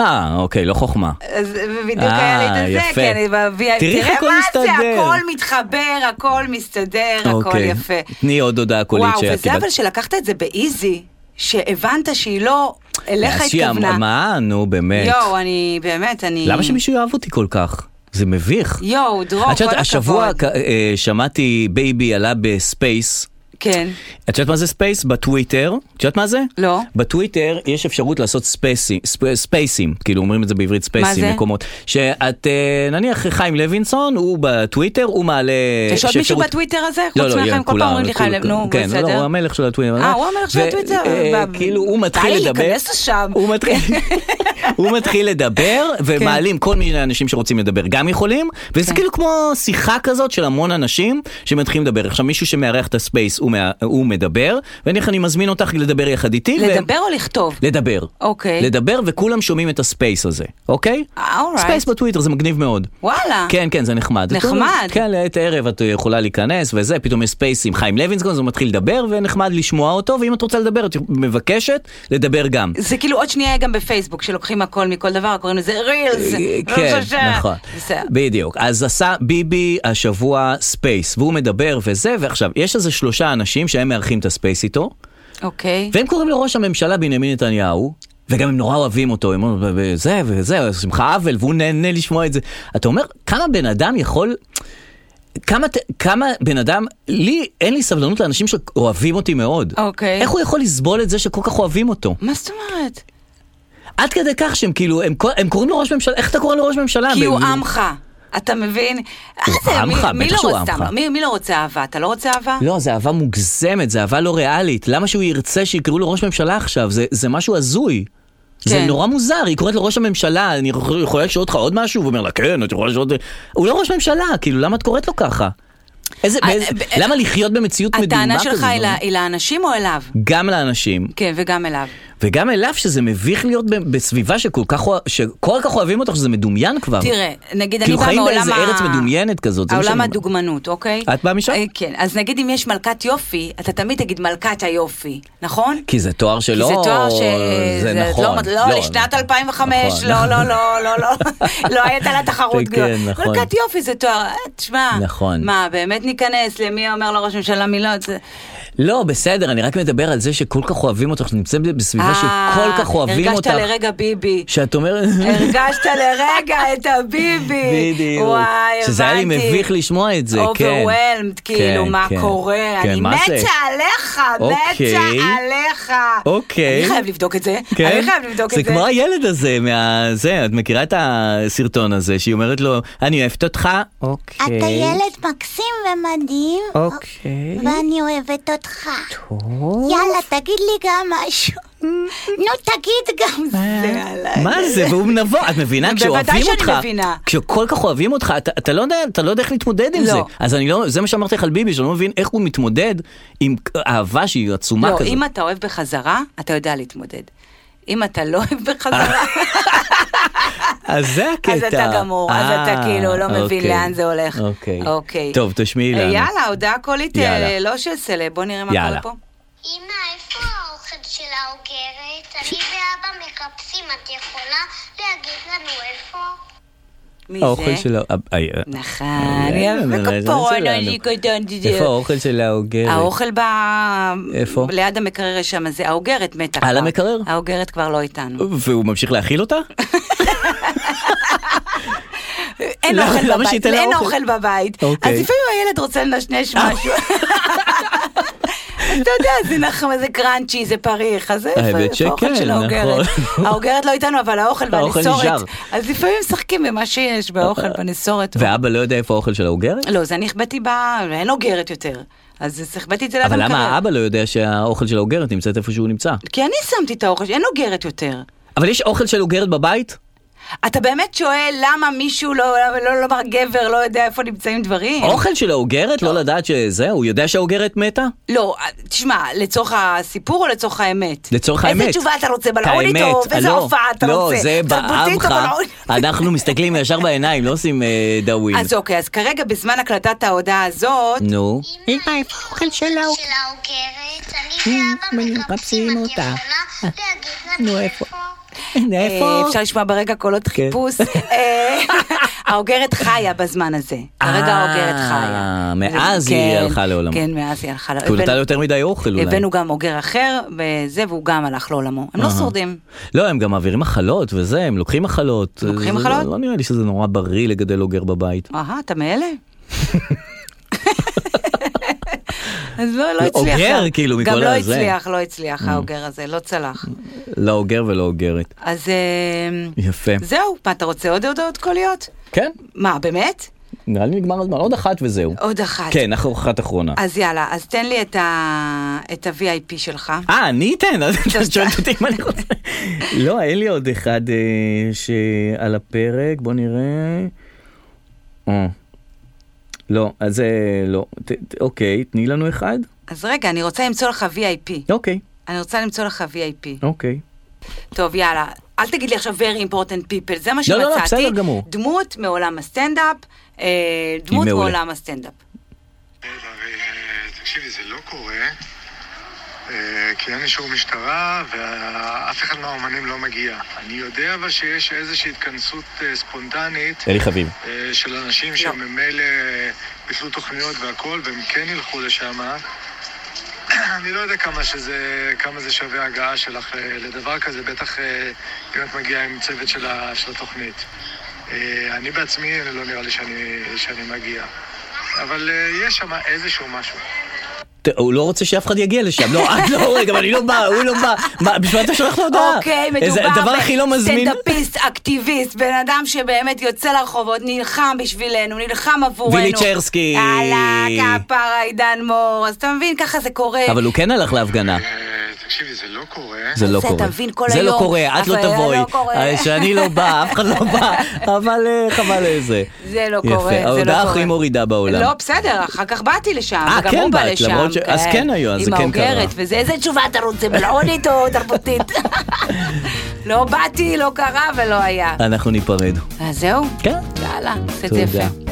אה, אוקיי, לא חוכמה.
אז בדיוק היה לי את
אה,
זה,
יפה.
כי אני ב-VIP.
תראי איך הכל
תראה מה
מסתדר.
זה, הכל מתחבר, הכל מסתדר, הכל
אוקיי.
יפה.
תני עוד הודעה קולית
וואו, וזה
שקיבלת.
אבל שלקחת את זה באיזי, שהבנת שהיא לא, אליך
אז שהיא
התכוונה.
מה? נו, באמת.
יואו, אני באמת, אני...
למה שמישהו יאהב אותי כל כך? זה מביך.
יואו, דרור,
את יודעת,
כל
השבוע
הכבוד.
כ- אה, שמעתי בייבי עלה בספייס.
כן.
את יודעת מה זה ספייס? בטוויטר. את יודעת מה זה?
לא.
בטוויטר יש אפשרות לעשות ספייסים, ספ- ספייסים, כאילו אומרים את זה בעברית ספייסים,
זה?
מקומות. שאת, אה, נניח חיים לוינסון, הוא בטוויטר, הוא מעלה...
יש עוד מישהו
אפשרות-
בטוויטר הזה?
לא,
חוץ
לא,
מכם,
כן,
כל
כולם,
פעם אומרים לי חיים
כולם,
לב, נו,
כן,
בסדר.
לא, הוא המלך של הטוויטר.
אה, הוא המלך של
ו-
הטוויטר?
אה,
ב-
כאילו, הוא
די,
מתחיל לדבר.
להיכנס לשם.
הוא מתחיל- הוא מתחיל לדבר, ומעלים כל מיני אנשים שרוצים לדבר, גם
כן.
יכולים, וזה כאילו כמו שיחה כזאת של המון אנשים שמתחילים לדבר. עכשיו, מישהו שמארח את הספייס, הוא הוא מה- הוא מדבר, ואיך אני מזמין אותך לדבר יחד איתי. ו-
לדבר או לכתוב?
לדבר.
אוקיי.
לדבר, וכולם שומעים את הספייס הזה, אוקיי?
אה, אורייט.
ספייס בטוויטר, זה מגניב מאוד.
וואלה.
כן, כן, זה נחמד.
נחמד.
כן, לעת ערב את יכולה להיכנס וזה, פתאום יש ספייס עם חיים לוינסקון, אז הוא מתחיל לדבר, ונחמד לשמוע אותו, ואם את רוצה לדבר, את מבקשת לדבר גם.
זה כאילו עוד שנייה יהיה גם בפייסבוק, שלוקחים הכל מכל דבר, קוראים לזה לא רילס.
כן, נכון, בדיוק. אז עשה ביבי השבוע ספייס, והוא מדבר וזה, ועכשיו, יש איזה שלושה אנשים שהם מארחים את הספייס איתו,
אוקיי.
והם קוראים לראש הממשלה בנימין נתניהו, וגם הם נורא אוהבים אותו, הם אומרים, וזה וזה, שמחה אבל, והוא נהנה לשמוע את זה. אתה אומר, כמה בן אדם יכול... כמה, ת- כמה בן אדם, לי אין לי סבלנות לאנשים שאוהבים אותי מאוד.
אוקיי.
איך הוא יכול לסבול את זה שכל כך אוהבים אותו?
מה זאת אומרת?
עד כדי כך שהם כאילו, הם, כל- הם קוראים לו ראש ממשלה, איך אתה קורא לו ראש ממשלה?
כי הוא
אה, ב-
עמך. אתה מבין? אה, זה,
עמך,
מי- מי
בטח
לא
שהוא
רוצה-
עמך.
מי- מי לא רוצה אהבה? אתה לא רוצה אהבה?
לא, זה אהבה מוגזמת, זה אהבה לא ריאלית. למה שהוא ירצה שיקראו לו ראש ממשלה עכשיו? זה, זה משהו הזוי. כן. זה
כן.
נורא מוזר, היא קוראת לו ראש הממשלה, אני יכול- יכולה לשאול אותך עוד משהו? והוא אומר לה, כן, את יכולה לשאול אותי. הוא לא ראש ממשלה, כאילו, למה את קוראת לו ככה? איזה,
אה,
באיזה,
אה,
למה לחיות במציאות מדומה כזו? לא?
הטענה שלך היא ל- היא לאנשים או אליו?
גם לאנשים,
כן, וגם אליו.
וגם אליו שזה מביך להיות ב- בסביבה שכל כך, אוה- שכל כך אוהבים אותך, שזה מדומיין כבר.
תראה, נגיד אני
כאילו
באה
חיים
מעולם ה...
באיזה ארץ מדומיינת כזאת, זה מה
העולם
שאני-
הדוגמנות, אוקיי?
את באה משם?
אה, כן, אז נגיד אם יש מלכת יופי, אתה תמיד תגיד מלכת היופי, נכון?
כי זה תואר שלא...
כי זה תואר ש...
לא, זה
לא-
נכון.
לא, לשנת 2005,
נכון.
לא, לא, לא, לא, לא, לא הייתה לה תחרות
כן,
גדולה.
נכון.
מלכת יופי זה תואר, אה, תשמע.
נכון.
מה, באמת ניכנס למי אומר לראש ממשלה מילות? זה-
לא, בסדר, אני רק מדבר על זה שכל כך אוהבים אותך, נמצאים בסביבה
אה,
שכל כך אוהבים אותך,
הרגשת לרגע ביבי.
שאת אומרת...
הרגשת לרגע את הביבי.
בדיוק.
וואי, הבנתי.
שזה היה לי מביך לשמוע את זה, כן.
Overwhelmed, כאילו,
כן,
מה
כן.
קורה?
כן,
אני
מה זה?
מתה עליך,
אוקיי.
מתה עליך.
אוקיי.
אני חייב לבדוק את זה. אני חייב לבדוק את זה.
כן? זה כמו הילד הזה, מה... זה, את מכירה את הסרטון הזה, שהיא אומרת לו, אני אוהבת אותך? אוקיי.
אתה ילד מקסים ומדהים,
אוקיי.
ואני אוהבת אותך. יאללה, תגיד לי גם משהו. נו, תגיד גם זה.
מה זה? והוא נבוא, את מבינה?
בוודאי
כשאוהבים
שאני
אותך,
מבינה.
כשכל כך אוהבים אותך, אתה, אתה, לא יודע, אתה לא יודע איך להתמודד עם
לא.
זה. אז אני לא, זה מה שאמרתי לך על ביבי, שאני לא מבין איך הוא מתמודד עם אהבה שהיא עצומה
לא,
כזאת.
אם אתה אוהב בחזרה, אתה יודע להתמודד. אם אתה לא אוהב בחזרה,
אז זה הקטע.
אז אתה גמור, אז
אה,
אתה כאילו לא מבין
אוקיי.
לאן זה הולך.
אוקיי.
אוקיי.
טוב, תשמעי לנו.
יאללה, הודעה קולית, אה,
יאללה.
לא של סלב, בוא נראה מה
יאללה.
קורה פה.
אמא, איפה האוכל של האוגרת? אני ואבא מחפשים, את יכולה להגיד לנו איפה?
מי
האוכל
זה?
של ה... אה,
נכון,
אה,
יפה
אה, אה,
כפרון,
שלנו.
אני קטנתי.
איפה האוכל של האוגרת?
האוכל ב...
איפה?
ליד המקרר יש שם, זה האוגרת מתה.
על
כבר.
המקרר?
האוגרת כבר לא איתנו.
והוא ממשיך להאכיל אותה?
אין
למה- למה
אוכל בבית,
שייתן לה
אין
אוכל?
אוכל בבית. אז
אוקיי. אה.
לפעמים הילד רוצה לנשנש משהו. אתה יודע, זה נחמד, זה קראנצ'י, זה פריך, אז איפה-
האמת
איפה האוכל
שכן,
של האוגרת?
נכון.
האוגרת לא איתנו, אבל האוכל
האוכל נשאר. אה,
והנסורת. אז לפעמים משחקים במה שיש, באוכל, בנסורת.
ואבא לא יודע איפה האוכל של האוגרת?
לא, זה אני החבאתי ב... אין אוגרת יותר. אז החבאתי את זה ליד
אבל
המקרר.
למה האבא לא יודע שהאוכל של האוגרת נמצאת איפה שהוא נמצא?
כי אני שמתי את האוכל, אין אוגרת יותר.
אבל יש אוכל של אוגרת בבית?
אתה באמת שואל למה מישהו לא, לא, לא, לא גבר לא יודע איפה נמצאים דברים?
אוכל של האוגרת? לא לדעת שזה? הוא יודע שהאוגרת מתה?
לא, תשמע, לצורך הסיפור או לצורך האמת?
לצורך
איזה
האמת.
תשובה אתה רוצה,
את האמת,
בלעונית או איזה
לא,
הופעה אתה
לא,
רוצה?
זה
תרבותית או
בעמך.
בלעונית?
אנחנו מסתכלים ישר בעיניים, לא עושים אה, דאווין.
אז אוקיי, אז כרגע בזמן הקלטת ההודעה הזאת,
נו.
אה,
אמא, איפה האוכל של האוגרת? אני ואבא מחפשים, את יכולה להגיד לנו איפה?
אה, אפשר לשמוע ברקע קולות
כן.
חיפוש. אה, האוגרת חיה בזמן הזה. כרגע
אה,
האוגרת חיה.
מאז היא
כן,
הלכה לעולמה.
כן, מאז היא הלכה
כי הוא
לעולמה.
נתן לו יותר מדי אוכל אולי.
הבאנו גם אוגר אחר, וזה, והוא גם הלך לעולמו. הם לא
אהה.
שורדים.
לא, הם גם מעבירים מחלות וזה, הם לוקחים מחלות.
לוקחים
זה-
מחלות?
לא נראה לי שזה נורא בריא לגדל אוגר בבית.
אהה, אתה מאלה? אז לא, לא הצליח.
אוגר,
גם-
כאילו, מכל
גם לא
הזה. Mm.
הצליח, לא הצליח האוגר הזה, לא צלח.
לא אוגר ולא אוגרת.
אז אמ,
יפה.
זהו, מה, אתה רוצה עוד הודעות קוליות?
כן,
מה, באמת?
נראה לי נגמר הזמן. עוד אחת וזהו.
עוד אחת.
כן, אנחנו אחת אחרונה.
אז יאללה, אז תן לי את ה- את ה-VIP שלך.
אה, אני אתן? אז את שואלת אותי אם אני רוצה. לא, אין לי עוד אחד אה, שעל הפרק, בוא נראה. אה. לא, אז זה לא. ת- ת- אוקיי, תני לנו אחד.
אז רגע, אני רוצה למצוא לך VIP.
אוקיי,
אני רוצה למצוא לך VIP.
אוקיי.
טוב, יאללה. אל תגיד לי עכשיו very important people, זה מה
לא,
שמצאתי.
לא, בסדר גמור.
דמות מעולם הסטנדאפ, אה, דמות
מעולה.
מעולם הסטנדאפ.
תקשיבי, זה לא קורה, אה, כי אין אישור משטרה ואף אחד מהאומנים לא מגיע. אני יודע אבל שיש איזושהי התכנסות אה, ספונטנית
אלי חביב.
אה, של אנשים שממילא ביטלו תוכניות והכל, והם כן ילכו לשם. אני לא יודע כמה, שזה, כמה זה שווה הגעה שלך אה, לדבר כזה, בטח אה, אם את מגיעה עם צוות של, ה, של התוכנית. אה, אני בעצמי, לא נראה לי שאני, שאני מגיע. אבל אה, יש שם איזשהו משהו.
ת- הוא לא רוצה שאף אחד יגיע לשם, לא, את לא, רגע, אבל אני לא באה, הוא לא בא, מה, בשביל מה אתה שולח לו הודעה?
אוקיי,
אה, איזה דבר
מדובר
הכי לא מזמין.
בסטנדאפיסט, אקטיביסט, בן אדם שבאמת יוצא לרחובות, נלחם בשבילנו, נלחם עבורנו.
וילי צ'רסקי.
יאללה, כפרה עידן מור. אז אתה מבין, ככה זה קורה.
אבל הוא כן הלך להפגנה.
אה, תקשיבי, זה לא קורה.
זה לא
זה,
קורה.
אתה מבין, כל
זה לא
היום,
קורה, את לא
אבל לא
תבואי.
קורה.
אה, שאני לא באה, אף אחד לא בא, אבל אה, חבל איזה.
זה לא
יפה.
קורה, זה לא קורה.
ההודעה הכי מורידה בעולם.
לא, בסדר, אחר כך באתי לשם,
אה,
וגם
כן
הוא בא
באת,
לשם.
למרות ש- אז כן היו, אז זה כן קרה.
עם האוגרת וזה, איזה תשובה אתה רוצה, מלעונית או תרבותית? לא באתי, לא קרה ולא היה.
אנחנו ניפרד.
אז זהו,
כן.
יאללה, עשית
תודה.
יפה.